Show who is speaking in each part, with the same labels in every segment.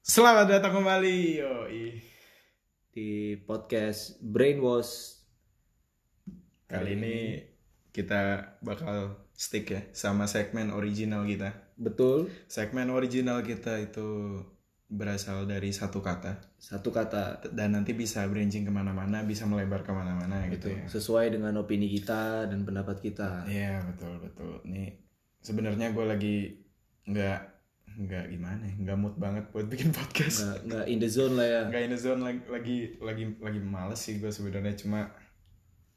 Speaker 1: Selamat datang kembali. Yoi.
Speaker 2: di podcast Brainwash.
Speaker 1: Kali ini kita bakal stick ya sama segmen original kita.
Speaker 2: Betul,
Speaker 1: Segmen original kita itu berasal dari satu kata
Speaker 2: satu kata
Speaker 1: dan nanti bisa branching kemana-mana, bisa melebar kemana-mana gitu ya.
Speaker 2: betul. sesuai dengan opini kita dan pendapat kita.
Speaker 1: Iya betul betul. Nih sebenarnya gue lagi nggak nggak gimana, ya, nggak mood banget buat bikin podcast.
Speaker 2: Nggak nggak in the zone lah ya.
Speaker 1: Gak in the zone lagi lagi lagi, lagi males sih gue sebenarnya cuma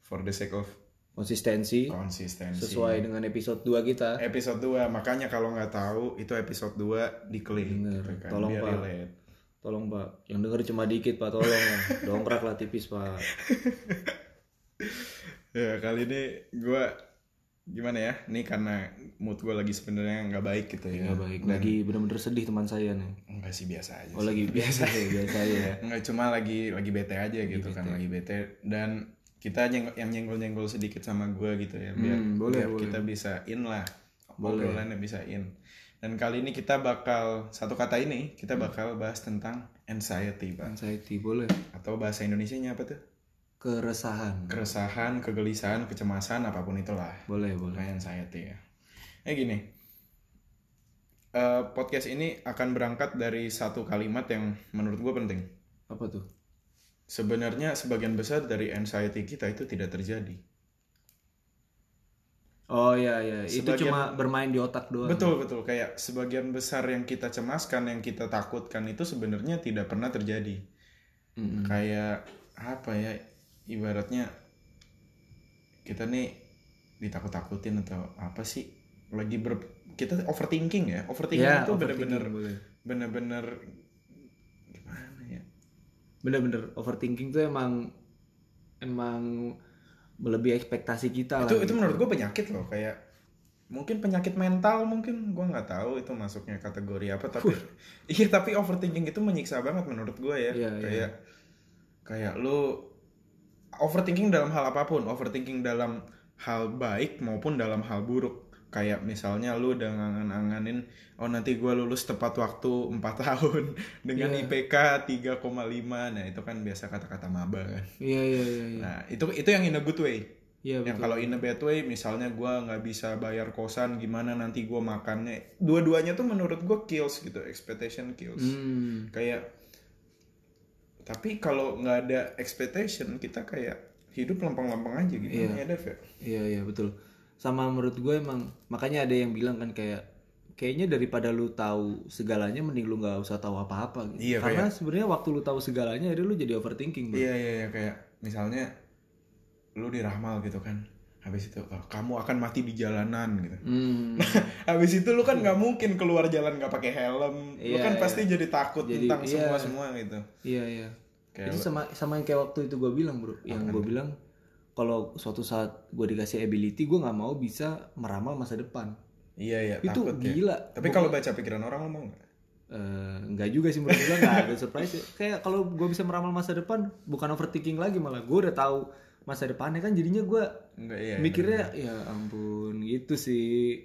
Speaker 1: for the sake of
Speaker 2: Konsistensi
Speaker 1: konsistensi.
Speaker 2: sesuai dengan episode 2 kita.
Speaker 1: episode 2 makanya kalau nggak tahu itu episode 2 diklik
Speaker 2: Bener.
Speaker 1: gitu kan,
Speaker 2: Tolong,
Speaker 1: biar
Speaker 2: Pak.
Speaker 1: relate.
Speaker 2: Tolong Pak, yang denger cuma dikit Pak, tolong lah. Dongkrak lah tipis Pak.
Speaker 1: ya kali ini gue gimana ya nih karena mood gue lagi sebenarnya nggak baik gitu ya
Speaker 2: Nggak baik.
Speaker 1: Dan-
Speaker 2: Lagi bener-bener sedih teman saya nih.
Speaker 1: nggak sih biasa aja
Speaker 2: Oh
Speaker 1: sih.
Speaker 2: lagi biasa ya, biasa ya.
Speaker 1: nggak cuma lagi lagi bete aja gitu kan
Speaker 2: bete.
Speaker 1: lagi bete dan kita nyeng- yang nyenggol-nyenggol sedikit sama gue gitu ya biar,
Speaker 2: Hmm, boleh,
Speaker 1: biar
Speaker 2: boleh.
Speaker 1: kita bisa in lah
Speaker 2: Boleh.
Speaker 1: obrolannya bisa in dan kali ini kita bakal satu kata ini kita
Speaker 2: Hmm.
Speaker 1: bakal bahas tentang anxiety pak
Speaker 2: Anxiety boleh.
Speaker 1: atau bahasa Indonesianya apa tuh
Speaker 2: Keresahan.
Speaker 1: keresahan, kegelisahan, kecemasan, apapun itulah.
Speaker 2: Boleh, boleh.
Speaker 1: Makanya anxiety ya. Eh gini, Eh, podcast ini akan berangkat dari satu kalimat yang menurut gue penting.
Speaker 2: Apa tuh?
Speaker 1: Sebenarnya sebagian besar dari anxiety kita itu tidak terjadi.
Speaker 2: Oh iya iya, itu
Speaker 1: Sebagian-
Speaker 2: cuma bermain di otak doang.
Speaker 1: Betul betul kayak sebagian besar yang kita cemaskan, yang kita takutkan itu sebenarnya tidak pernah terjadi.
Speaker 2: Mm-mm.
Speaker 1: Kayak apa ya? Ibaratnya kita nih ditakut-takutin atau apa sih? Lagi ber kita overthinking ya. Overthinking
Speaker 2: Ya,
Speaker 1: itu
Speaker 2: overthinking,
Speaker 1: bener-bener
Speaker 2: boleh.
Speaker 1: bener-bener gimana ya
Speaker 2: bener-bener overthinking tuh emang emang melebihi ekspektasi
Speaker 1: itu
Speaker 2: kita lah gitu.
Speaker 1: itu menurut gue penyakit loh kayak mungkin penyakit mental mungkin gue nggak tahu itu masuknya kategori apa tapi iya tapi overthinking itu menyiksa banget menurut gue ya
Speaker 2: Iya,
Speaker 1: kayak kayak lu overthinking dalam hal apapun overthinking dalam hal baik maupun dalam hal buruk kayak misalnya lu udah ngangan-nganganin oh nanti gue lulus tepat waktu 4 tahun dengan
Speaker 2: Iya.
Speaker 1: IPK 3,5 nah itu kan biasa kata-kata maba kan
Speaker 2: iya iya iya iya
Speaker 1: Nah, itu itu yang in a good way.
Speaker 2: Iya,
Speaker 1: Yang
Speaker 2: betul.
Speaker 1: kalau in a bad way, misalnya gua nggak bisa bayar kosan, gimana nanti gua makannya. Dua-duanya tuh menurut gua kills gitu, expectation kills.
Speaker 2: hmm,
Speaker 1: Kayak, tapi kalau nggak ada expectation, kita kayak hidup lempeng-lempeng aja gitu.
Speaker 2: Iya.
Speaker 1: Ya, Dev ya?
Speaker 2: iya iya betul sama menurut gue emang makanya ada yang bilang kan kayak kayaknya daripada lu tahu segalanya mending lu nggak usah tahu apa-apa
Speaker 1: Iya,
Speaker 2: gitu karena sebenarnya waktu lu tahu segalanya akhirnya lu jadi overthinking bro.
Speaker 1: Iya iya iya kayak misalnya lu diramal gitu kan. Habis itu oh, kamu akan mati di jalanan gitu.
Speaker 2: Hmm,
Speaker 1: Habis itu lu kan nggak mungkin keluar jalan nggak pakai helm. lu
Speaker 2: Iya,
Speaker 1: kan
Speaker 2: iya.
Speaker 1: pasti jadi takut
Speaker 2: Jadi,
Speaker 1: tentang
Speaker 2: iya.
Speaker 1: semua-semua gitu.
Speaker 2: iya iya
Speaker 1: Kayak
Speaker 2: itu sama sama yang kayak waktu itu gue bilang bro yang gue bilang kalau suatu saat gue dikasih ability gue nggak mau bisa meramal masa depan
Speaker 1: Iya iya
Speaker 2: itu
Speaker 1: takut ya.
Speaker 2: gila
Speaker 1: Tapi kalau baca pikiran orang lo mau nggak?
Speaker 2: Eh, enggak juga sih menurut gue enggak ada surprise ya. kayak kalau gue bisa meramal masa depan bukan overthinking lagi malah gue udah tahu masa depannya kan jadinya gue
Speaker 1: Enggak iya.
Speaker 2: mikirnya ya ampun gitu sih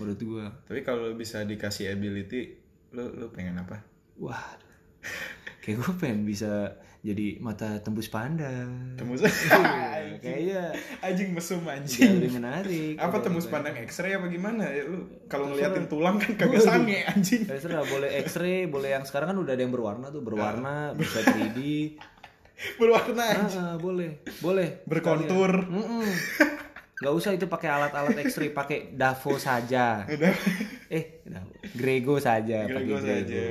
Speaker 2: menurut gue
Speaker 1: Tapi kalau lo bisa dikasih ability, lo lo pengen apa?
Speaker 2: wah kayak gue pengen bisa jadi mata tembus pandang
Speaker 1: Tembus
Speaker 2: Hmm. Iya, kayaknya
Speaker 1: anjing mesum
Speaker 2: jauh
Speaker 1: anjing.
Speaker 2: lebih menarik
Speaker 1: Apa
Speaker 2: Udah,
Speaker 1: tembus
Speaker 2: udah.
Speaker 1: pandang X-ray apa gimana? Ya, lu kalau
Speaker 2: ya. Terserah.
Speaker 1: ngeliatin tulang kan kagak sange anjing.
Speaker 2: Terserah, Eh, boleh X-ray, boleh yang sekarang kan udah ada yang berwarna tuh, berwarna, bisa 3D.
Speaker 1: Berwarna,
Speaker 2: Ah, ah, boleh, boleh.
Speaker 1: berkontur.
Speaker 2: Mm-mm. Nggak usah itu pakai alat-alat X-ray, pakai Davo saja.
Speaker 1: Udah,
Speaker 2: Eh, Davo. Grego saja, pakai
Speaker 1: Grego
Speaker 2: Grego.
Speaker 1: saja,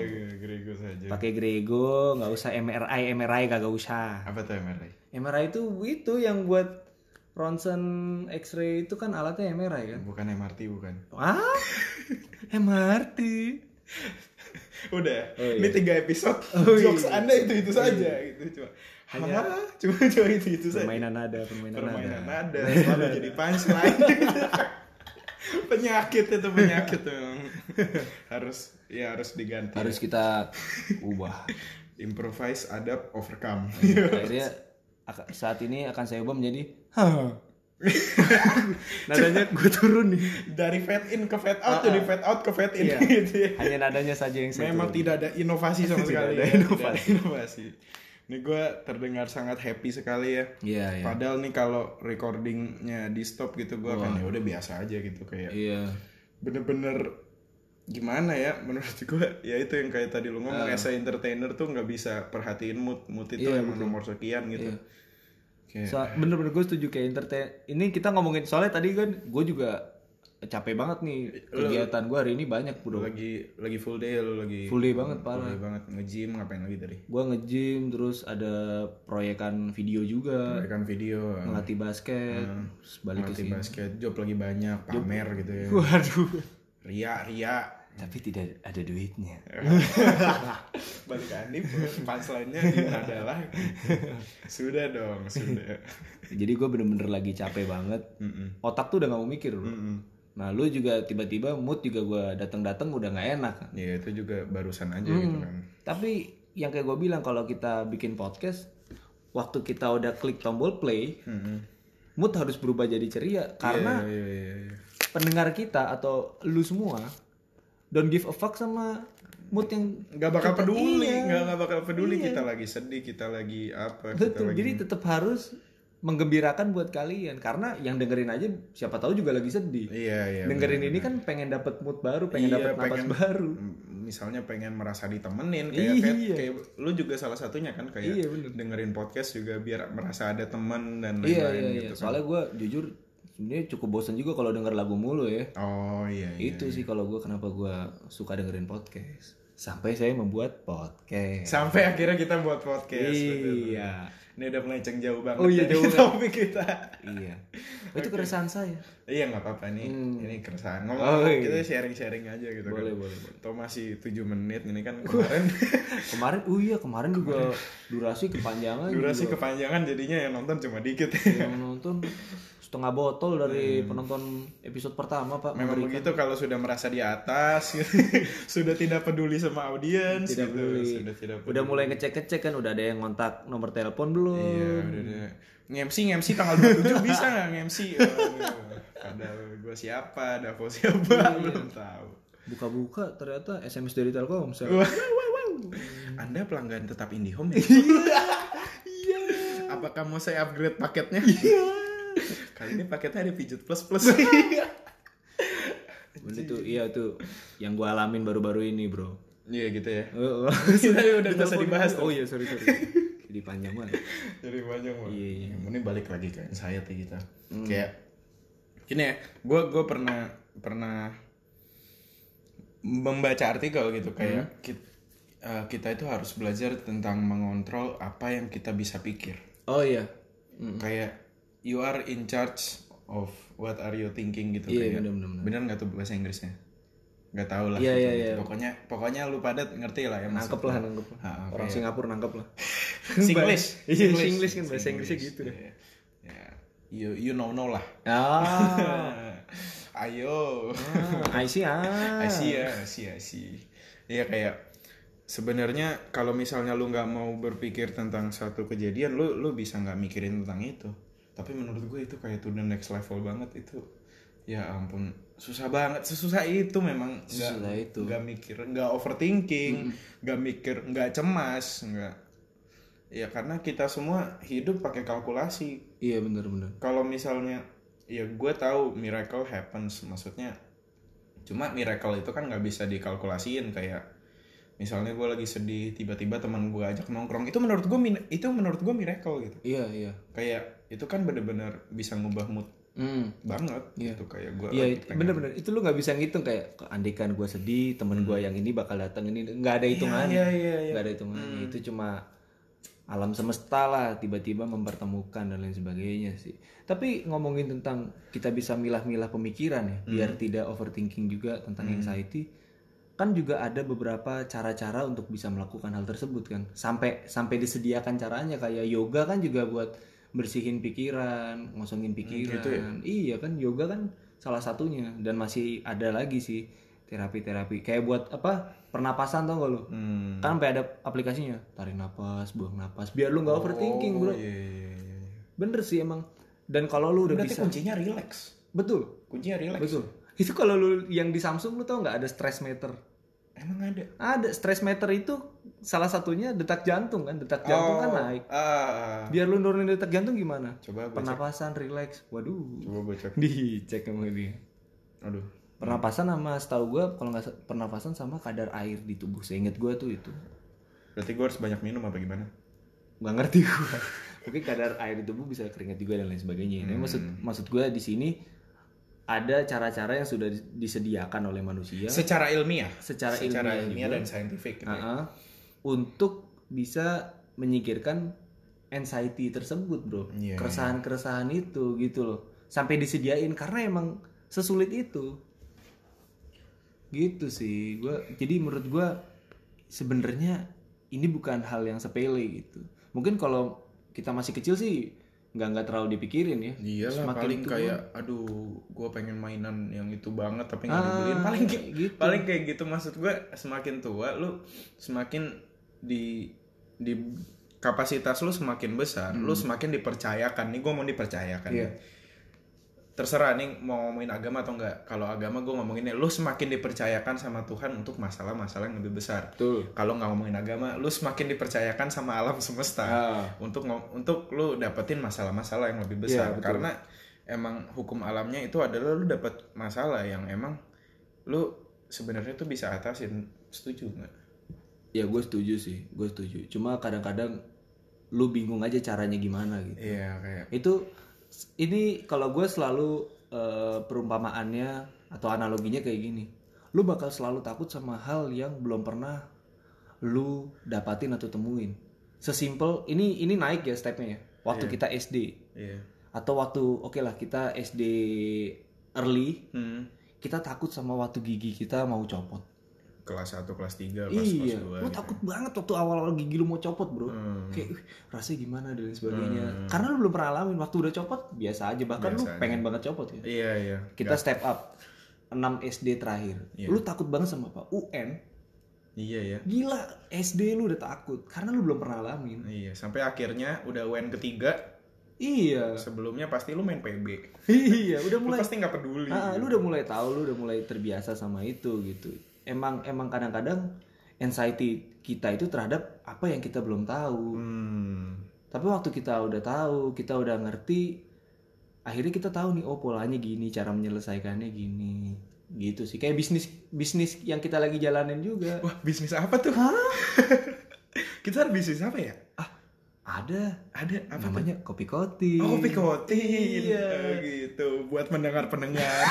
Speaker 1: Grego saja.
Speaker 2: Pakai Grego, nggak usah MRI, MRI kagak usah.
Speaker 1: Apa tuh MRI?
Speaker 2: MRI itu itu yang buat ronsen X-ray itu kan alatnya MRI kan.
Speaker 1: Bukan MRT bukan.
Speaker 2: Wah, MRT.
Speaker 1: Udah,
Speaker 2: Oh, iya.
Speaker 1: ini tiga episode
Speaker 2: Oh, iya.
Speaker 1: jokes anda itu itu saja gitu cuma.
Speaker 2: Hanya-
Speaker 1: Hah? cuma cuma itu itu saja.
Speaker 2: Permainan nada, permainan,
Speaker 1: permainan
Speaker 2: nada.
Speaker 1: nada selalu jadi punchline penyakit itu penyakit memang harus ya harus diganti
Speaker 2: Harus kita ubah.
Speaker 1: improvise
Speaker 2: Oh,
Speaker 1: adapt overcome
Speaker 2: iya. akhirnya ak- saat ini akan saya ubah menjadi "Hah, nadanya gue turun nih
Speaker 1: dari fade in ke fade out dari fade out ke fade in
Speaker 2: Ah, Iya.
Speaker 1: gitu ya.
Speaker 2: hanya nadanya saja yang saya
Speaker 1: Memang
Speaker 2: turunin.
Speaker 1: tidak ada inovasi sama
Speaker 2: Tidak
Speaker 1: sekali.
Speaker 2: ada
Speaker 1: ya.
Speaker 2: inovasi.
Speaker 1: inovasi. Ini gue terdengar sangat happy sekali ya.
Speaker 2: iya iya
Speaker 1: Padahal nih kalau recordingnya di stop gitu gue akan ya
Speaker 2: Wah.
Speaker 1: udah biasa aja gitu kayak
Speaker 2: iya
Speaker 1: bener-bener gimana ya menurut gue ya itu yang kayak tadi lu ngomong as a entertainer tuh nggak bisa perhatiin mood mood itu
Speaker 2: Ah. Iya,
Speaker 1: emang nomor sekian gitu.
Speaker 2: Iya.
Speaker 1: Kayak,
Speaker 2: So- bener-bener gue setuju kayak entertain ini kita ngomongin soalnya tadi kan gue juga capek banget nih kegiatan gue hari ini banyak
Speaker 1: lu
Speaker 2: bro
Speaker 1: lagi lagi full day lu lagi
Speaker 2: full day banget
Speaker 1: full
Speaker 2: parah
Speaker 1: day banget nge-gym ngapain lagi tadi?
Speaker 2: gue nge-gym terus ada proyekan video juga
Speaker 1: Rekam video,
Speaker 2: ngelatih basket terus balik ke
Speaker 1: ngelatih
Speaker 2: sini
Speaker 1: basket, job lagi banyak, pamer gitu ya.
Speaker 2: Hmm. waduh
Speaker 1: Ria, ria.
Speaker 2: tapi tidak ada duitnya
Speaker 1: Balik Andi, punchline-nya gimana lagi? sudah dong, sudah.
Speaker 2: jadi gue bener-bener lagi capek banget
Speaker 1: Mm-mm.
Speaker 2: otak tuh udah gak mau mikir bro.
Speaker 1: Mm-mm.
Speaker 2: nah lu juga tiba-tiba mood juga gue datang-datang udah nggak enak kan.
Speaker 1: Ya itu juga barusan aja gitu kan.
Speaker 2: tapi yang kayak gue bilang kalau kita bikin podcast waktu kita udah klik tombol play
Speaker 1: Mm-mm.
Speaker 2: mood harus berubah jadi ceria karena
Speaker 1: Iya, iya, iya, iya.
Speaker 2: pendengar kita atau lu semua don't give a fuck sama mood yang
Speaker 1: Gak bakal
Speaker 2: Kita-
Speaker 1: peduli, gak,
Speaker 2: iya.
Speaker 1: gak bakal peduli kita lagi sedih, kita lagi apa, kita
Speaker 2: betul
Speaker 1: lagi
Speaker 2: jadi tetap harus menggembirakan buat kalian karena yang dengerin aja siapa tahu juga lagi sedih
Speaker 1: Iya, iya.
Speaker 2: dengerin ini kan pengen dapet mood baru pengen
Speaker 1: Iya,
Speaker 2: dapet napas
Speaker 1: pengen-
Speaker 2: baru
Speaker 1: M- misalnya pengen merasa ditemenin kayak, kayak,
Speaker 2: Iya.
Speaker 1: kayak lu juga salah satunya kan kayak
Speaker 2: Iya, bener.
Speaker 1: dengerin podcast juga biar merasa ada teman dan lain-lain
Speaker 2: iya iya iya
Speaker 1: gitu kan.
Speaker 2: soalnya gue jujur sebenarnya cukup bosan juga kalau denger lagu mulu ya
Speaker 1: oh iya iya
Speaker 2: itu sih kalau gue kenapa gue suka dengerin podcast sampai saya membuat podcast
Speaker 1: iya. sampai akhirnya kita buat podcast betul.
Speaker 2: iya
Speaker 1: ini udah melenceng jauh banget
Speaker 2: Oh, iya,
Speaker 1: tadi
Speaker 2: jauh banget.
Speaker 1: topik kita
Speaker 2: iya itu keresahan saya
Speaker 1: iya nggak apa-apa nih
Speaker 2: Hmm.
Speaker 1: ini keresahan ngomong
Speaker 2: Oh, iya.
Speaker 1: kita sharing-sharing aja gitu
Speaker 2: boleh
Speaker 1: kan
Speaker 2: boleh boleh
Speaker 1: atau masih 7 menit ini kan kemarin
Speaker 2: kemarin oh iya kemarin juga durasi kepanjangan
Speaker 1: durasi
Speaker 2: juga.
Speaker 1: kepanjangan jadinya yang nonton cuma dikit
Speaker 2: yang nonton setengah botol dari penonton episode pertama
Speaker 1: Iya.
Speaker 2: pak
Speaker 1: Memang
Speaker 2: Memberikan-
Speaker 1: begitu kalau sudah merasa di atas, gitu. sudah tidak peduli sama audiens, gitu.
Speaker 2: Tidak peduli.
Speaker 1: sudah tidak peduli.
Speaker 2: udah mulai ngecek ngecek kan udah ada yang ngontak nomor telepon belum
Speaker 1: Iya, udah udah. Nge-MC nge-MC tanggal 27 bisa nggak Iya, nge-MC? Waduh, Padahal gue siapa, Davo siapa belum tahu.
Speaker 2: buka-buka ternyata sms dari telkomsel
Speaker 1: Wah, wah, wah. Anda pelanggan tetap IndiHome ya? Iya. Apakah mau saya upgrade paketnya? Kali ini paketnya ada pijut plus plus.
Speaker 2: Bener tuh, iya tuh yang gua alamin baru-baru ini bro.
Speaker 1: Iya gitu ya.
Speaker 2: Oh, oh.
Speaker 1: Kita udah nggak usah dibahas tuh.
Speaker 2: Oh iya sorry sorry. Jadi panjang banget.
Speaker 1: Jadi panjang banget.
Speaker 2: Iya, iya.
Speaker 1: Ini balik lagi ke anxiety kita. Kayak gini ya, gue gue pernah pernah membaca artikel gitu kayak kit- eh, kita, itu harus belajar tentang mengontrol apa yang kita bisa pikir.
Speaker 2: Oh iya. Mm.
Speaker 1: Kayak you are in charge of what are you thinking gitu
Speaker 2: Iya
Speaker 1: kayak.
Speaker 2: bener bener. bener.
Speaker 1: Bener nggak tuh bahasa Inggrisnya? Gak tau lah.
Speaker 2: Iya,
Speaker 1: gitu,
Speaker 2: iya,
Speaker 1: gitu.
Speaker 2: iya. Nah,
Speaker 1: Pokoknya pokoknya lu padat ngerti lah ya.
Speaker 2: Nangkep lah nangkep lah.
Speaker 1: Ah,
Speaker 2: Orang
Speaker 1: kayak-
Speaker 2: Singapura nangkep lah.
Speaker 1: Singlish.
Speaker 2: Iya Singlish kan bahasa Inggrisnya
Speaker 1: Singlish,
Speaker 2: gitu deh.
Speaker 1: iya. Ya, you you know know lah.
Speaker 2: Ah,
Speaker 1: Ayo.
Speaker 2: Oh. I see ah.
Speaker 1: Asia, Asia, Asia. Iya kayak sebenarnya kalau misalnya lu nggak mau berpikir tentang satu kejadian, lu lu bisa nggak mikirin tentang itu. Tapi menurut gue itu kayak to the next level banget itu. Ya ampun, susah banget. Sesusah itu memang nggak-
Speaker 2: Sesusah itu.
Speaker 1: nggak mikir, nggak overthinking, nggak mikir, nggak cemas, nggak. Ya karena kita semua hidup pakai kalkulasi,
Speaker 2: Iya bener bener.
Speaker 1: kalau misalnya ya gue tahu miracle happens maksudnya cuma miracle itu kan nggak bisa dikalkulasiin kayak misalnya gue lagi sedih tiba-tiba teman gue ajak nongkrong itu menurut gue itu menurut gue miracle gitu
Speaker 2: Iya iya.
Speaker 1: kayak itu kan bener-bener bisa ngubah mood
Speaker 2: Hmm.
Speaker 1: banget
Speaker 2: Iya.
Speaker 1: gitu kayak gue
Speaker 2: Iya it- bener-bener itu lu nggak bisa ngitung kayak andikan gua sedih temen gua yang ini bakal datang ini nggak ada hitungannya
Speaker 1: iya iya iya
Speaker 2: nggak ada hitungannya itu cuma alam semesta lah tiba-tiba mempertemukan dan lain sebagainya sih tapi ngomongin tentang kita bisa milah-milah pemikiran ya
Speaker 1: Hmm.
Speaker 2: biar tidak overthinking juga tentang anxiety kan juga ada beberapa cara-cara untuk bisa melakukan hal tersebut kan sampai sampai disediakan caranya kayak yoga kan juga buat bersihin pikiran ngosongin pikiran
Speaker 1: gitu ya?
Speaker 2: iya kan yoga kan salah satunya dan masih ada lagi sih terapi-terapi kayak buat apa pernapasan tau gak lo
Speaker 1: Hmm.
Speaker 2: kan sampai ada aplikasinya tarik napas buang napas biar lu nggak overthinking bro
Speaker 1: Oh, iya, iya, iya, iya.
Speaker 2: bener sih emang Dan kalau lu udah
Speaker 1: Berarti
Speaker 2: bisa
Speaker 1: kuncinya relax.
Speaker 2: betul,
Speaker 1: Kuncinya relax.
Speaker 2: betul. Itu kalau lu yang di Samsung lu tau nggak ada stress meter?
Speaker 1: Emang ada.
Speaker 2: Ada stress meter itu salah satunya detak jantung kan, detak jantung kan naik.
Speaker 1: Oh, ah.
Speaker 2: Biar lu nurunin detak jantung gimana?
Speaker 1: coba gue cek.
Speaker 2: Pernapasan, relax. Waduh.
Speaker 1: Coba gue cek.
Speaker 2: Dicek sama dia.
Speaker 1: Aduh.
Speaker 2: Pernapasan sama setahu gua kalau nggak sa- pernapasan sama kadar air di tubuh. Seingat gua tuh itu.
Speaker 1: Berarti gue harus banyak minum apa gimana?
Speaker 2: nggak ngerti gue mungkin kadar air di tubuh bisa keringat juga dan lain sebagainya tapi maksud maksud gue di sini ada cara-cara yang sudah dis- disediakan oleh manusia
Speaker 1: Secara ilmiah.
Speaker 2: Ya. secara,
Speaker 1: Secara ilmiah,
Speaker 2: ilmiah, juga,
Speaker 1: dan
Speaker 2: Ah,
Speaker 1: saintifik. Gitu. ya.
Speaker 2: ah-ah, untuk bisa menyingkirkan anxiety tersebut bro
Speaker 1: Iya,
Speaker 2: keresahan-keresahan itu gitu loh sampai disediain karena emang sesulit itu gitu sih gua jadi menurut gua sebenarnya ini bukan hal yang sepele gitu mungkin kalau kita masih kecil sih nggak nggak terlalu dipikirin ya
Speaker 1: Iyalah
Speaker 2: Semakin
Speaker 1: Iya paling
Speaker 2: tua.
Speaker 1: kayak aduh gue pengen mainan yang itu banget tapi nggak
Speaker 2: Ah,
Speaker 1: dibeliin paling kayak
Speaker 2: gitu.
Speaker 1: paling kayak gitu maksud gue semakin tua lu semakin di di kapasitas lu semakin besar lu semakin dipercayakan nih gue mau dipercayakan
Speaker 2: Hmm. Iya.
Speaker 1: nih. terserah nih mau ngomongin agama atau enggak kalau agama gue ngomonginnya lu semakin dipercayakan sama Tuhan untuk masalah-masalah yang lebih besar
Speaker 2: betul
Speaker 1: kalau nggak ngomongin agama lu semakin dipercayakan sama alam semesta
Speaker 2: Ah.
Speaker 1: untuk ngo- untuk lu dapetin masalah-masalah yang lebih
Speaker 2: Iya,
Speaker 1: besar
Speaker 2: betul.
Speaker 1: karena emang hukum alamnya itu adalah lu dapet masalah yang emang lu sebenarnya tuh bisa atasin setuju nggak
Speaker 2: ya gue setuju sih gue setuju cuma kadang-kadang lu bingung aja caranya gimana gitu
Speaker 1: iya kayak
Speaker 2: itu ini kalau gue selalu eh, perumpamaannya atau analoginya kayak gini lu bakal selalu takut sama hal yang belum pernah lu dapatin atau temuin sesimpel ini ini naik ya stepnya ya waktu kita SD
Speaker 1: iya
Speaker 2: atau waktu oke lah kita SD early
Speaker 1: hmm.
Speaker 2: kita takut sama waktu gigi kita mau copot
Speaker 1: kelas 1, kelas 3, kelas kelas
Speaker 2: iya
Speaker 1: 2
Speaker 2: lu takut banget waktu awal-awal gigi lu mau copot bro
Speaker 1: hmm.
Speaker 2: kayak "Wih, rasanya gimana dan lain sebagainya karena lu belum pernah alamin waktu udah copot biasa aja bahkan lu
Speaker 1: Biasa aja.
Speaker 2: pengen banget copot ya
Speaker 1: iya iya
Speaker 2: kita step up 6 SD terakhir
Speaker 1: Iya.
Speaker 2: lu takut banget sama apa UN
Speaker 1: iya ya
Speaker 2: gila SD lu udah takut karena lu belum pernah alamin
Speaker 1: iya sampai akhirnya udah UN ketiga
Speaker 2: iya
Speaker 1: sebelumnya pasti lu main PB
Speaker 2: iya udah
Speaker 1: lu
Speaker 2: mulai
Speaker 1: pasti gitu. nggak peduli
Speaker 2: Ah, ah, lu udah mulai tahu lu udah mulai terbiasa sama itu gitu emang emang kadang-kadang anxiety kita itu terhadap apa yang kita belum tahu
Speaker 1: hmm.
Speaker 2: Tapi waktu kita udah tahu, kita udah ngerti, akhirnya kita tahu nih oh polanya gini, cara menyelesaikannya gini. Gitu sih. Kayak bisnis bisnis yang kita lagi jalanin juga.
Speaker 1: wah bisnis apa tuh kita ada bisnis apa ya
Speaker 2: Ah, Ada
Speaker 1: ada apa tuh?
Speaker 2: namanya kopi koti.
Speaker 1: Oh, kopi kotin.
Speaker 2: Hmm. Iya.
Speaker 1: Eh, gitu. Buat pendengar-pendengar.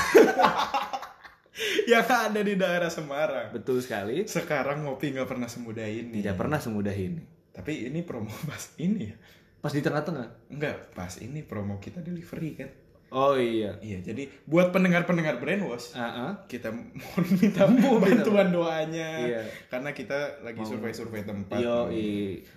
Speaker 1: yang ada di daerah Semarang.
Speaker 2: Betul sekali.
Speaker 1: Sekarang ngopi nggak pernah semudah ini.
Speaker 2: Tidak pernah semudah ini.
Speaker 1: Tapi ini promo pas ini ya.
Speaker 2: Pas di tengah-tengah.
Speaker 1: Enggak, pas ini promo kita delivery kan.
Speaker 2: Oh iya.
Speaker 1: Iya, jadi buat pendengar-pendengar Brainwash,
Speaker 2: Ah, ah.
Speaker 1: kita mohon minta bantuan doanya.
Speaker 2: Iya.
Speaker 1: Karena kita lagi survei-survei tempat.
Speaker 2: Yo,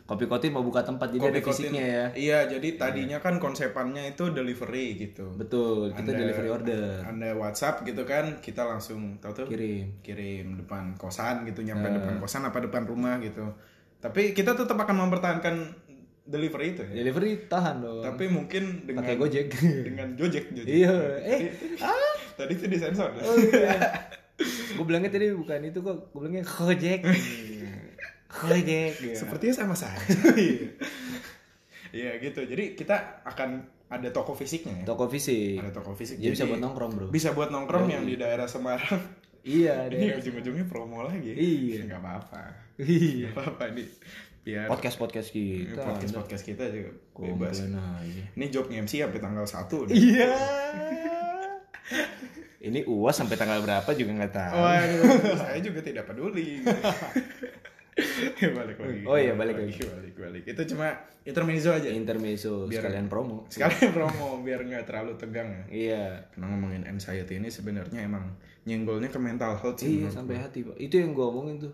Speaker 2: kopi koti mau buka tempat jadi
Speaker 1: Kopi
Speaker 2: ada
Speaker 1: Kotin.
Speaker 2: fisiknya ya.
Speaker 1: Iya, jadi tadinya kan konsepannya itu delivery gitu.
Speaker 2: Betul, kita
Speaker 1: Anda-
Speaker 2: delivery order.
Speaker 1: Anda WhatsApp gitu kan, kita langsung tahu tuh
Speaker 2: Kirim. Nah.
Speaker 1: kirim depan kosan gitu, nyampe depan kosan apa depan rumah gitu. Tapi kita tetap akan mempertahankan delivery itu ya.
Speaker 2: Delivery tahan dong.
Speaker 1: Tapi mungkin dengan
Speaker 2: Iya. Pakai Gojek.
Speaker 1: dengan Gojek Gojek.
Speaker 2: Iya. Oh, Eh,
Speaker 1: Tadi itu disensor. ya?
Speaker 2: gue bilangnya tadi bukan itu kok gue bilangnya kojek kojek ya.
Speaker 1: Sepertinya sama saja. Iya gitu. Jadi kita akan ada toko fisiknya ya.
Speaker 2: toko fisik
Speaker 1: Ada toko fisik.
Speaker 2: jadi bisa buat nongkrong Iya. bro
Speaker 1: bisa buat nongkrong yang di daerah Semarang.
Speaker 2: iya
Speaker 1: Ini
Speaker 2: deh
Speaker 1: ujung-ujungnya promo lagi.
Speaker 2: Iya.
Speaker 1: Enggak apa-apa. Gak apa-apa nih biar
Speaker 2: podcast
Speaker 1: podcast
Speaker 2: podcast kita
Speaker 1: Iya. podcast, kita juga bebas
Speaker 2: komplain aja
Speaker 1: ini job MC sampai tanggal 1 nih
Speaker 2: iya ini uas sampai tanggal berapa juga nggak tahu
Speaker 1: Oh, Waduh, saya juga tidak peduli ya, balik lagi
Speaker 2: Oh iya, balik
Speaker 1: balik balik itu cuma intermezzo aja
Speaker 2: intermezzo sekalian promo
Speaker 1: sekalian promo biar nggak terlalu tegang ya
Speaker 2: iya
Speaker 1: karena ngomongin anxiety ini sebenarnya emang nyenggolnya ke mental health sih
Speaker 2: iya
Speaker 1: menurut
Speaker 2: sampai hati pak itu yang gue omongin tuh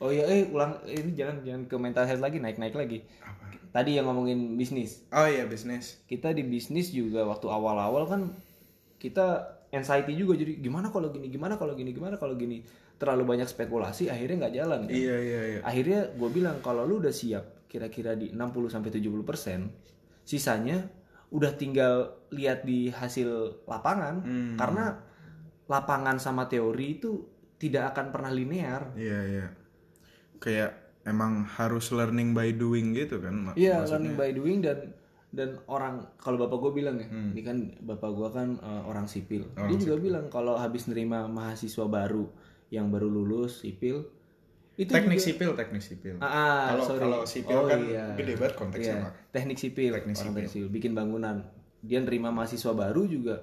Speaker 2: oh iya eh ulang ini jangan jangan ke mental health lagi naik naik lagi
Speaker 1: gue. apa
Speaker 2: tadi yang ngomongin bisnis
Speaker 1: oh iya bisnis
Speaker 2: kita di bisnis juga waktu awal-awal kan kita anxiety juga jadi gimana kalau gini gimana kalau gini gimana kalau gini terlalu banyak spekulasi akhirnya nggak jalan kan?
Speaker 1: iya iya iya
Speaker 2: akhirnya gue bilang kalau lu udah siap kira-kira di 60 sampai 70 sisanya udah tinggal lihat di hasil lapangan
Speaker 1: Hmm.
Speaker 2: karena lapangan sama teori itu tidak akan pernah linear.
Speaker 1: Iya iya. Kayak emang harus learning by doing gitu kan mak-
Speaker 2: Iya,
Speaker 1: maksudnya.
Speaker 2: learning by doing dan dan orang kalau bapak gue bilang ya,
Speaker 1: Hmm.
Speaker 2: ini kan bapak gue kan eh, orang sipil.
Speaker 1: Orang
Speaker 2: Dia juga bilang kalau habis nerima mahasiswa baru yang baru lulus sipil itu
Speaker 1: Teknik
Speaker 2: juga-
Speaker 1: sipil, teknik sipil.
Speaker 2: Ah, ah,
Speaker 1: Kalau
Speaker 2: sorry.
Speaker 1: kalau sipil
Speaker 2: Oh,
Speaker 1: kan
Speaker 2: iya.
Speaker 1: gede banget konteksnya
Speaker 2: Iya,
Speaker 1: mak.
Speaker 2: teknik sipil,
Speaker 1: Teknik
Speaker 2: orang teknik sipil, bikin bangunan. Dia nerima mahasiswa baru juga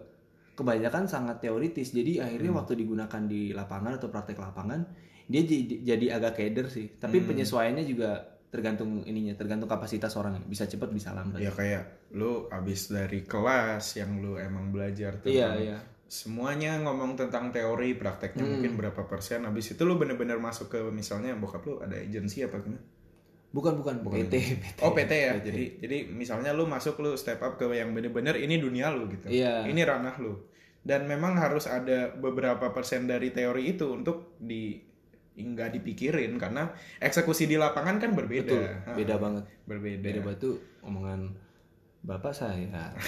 Speaker 2: kebanyakan sangat teoritis. Jadi
Speaker 1: Hmm.
Speaker 2: akhirnya waktu digunakan di lapangan atau praktek lapangan, dia jadi, jadi agak keder sih.
Speaker 1: Hmm.
Speaker 2: Tapi penyesuaiannya juga tergantung ininya, tergantung kapasitas orangnya. Bisa cepat, bisa lambat.
Speaker 1: Ya kayak lu abis dari kelas yang lu emang belajar tentang
Speaker 2: Iya, Hmm. iya.
Speaker 1: semuanya ngomong tentang teori prakteknya mungkin berapa persen habis itu lu bener-bener masuk ke misalnya bokap lu ada agensi apa gimana
Speaker 2: Bukan, bukan, PT, PT.
Speaker 1: oh PT ya jadi jadi misalnya lu masuk lu step up ke yang bener-bener ini dunia lu gitu
Speaker 2: Iya.
Speaker 1: ini ranah lu dan memang harus ada beberapa persen dari teori itu untuk di nggak dipikirin karena eksekusi di lapangan kan berbeda
Speaker 2: Betul,
Speaker 1: Ha,
Speaker 2: beda Ah. Iya. banget.
Speaker 1: berbeda
Speaker 2: Beda batu omongan bapak saya.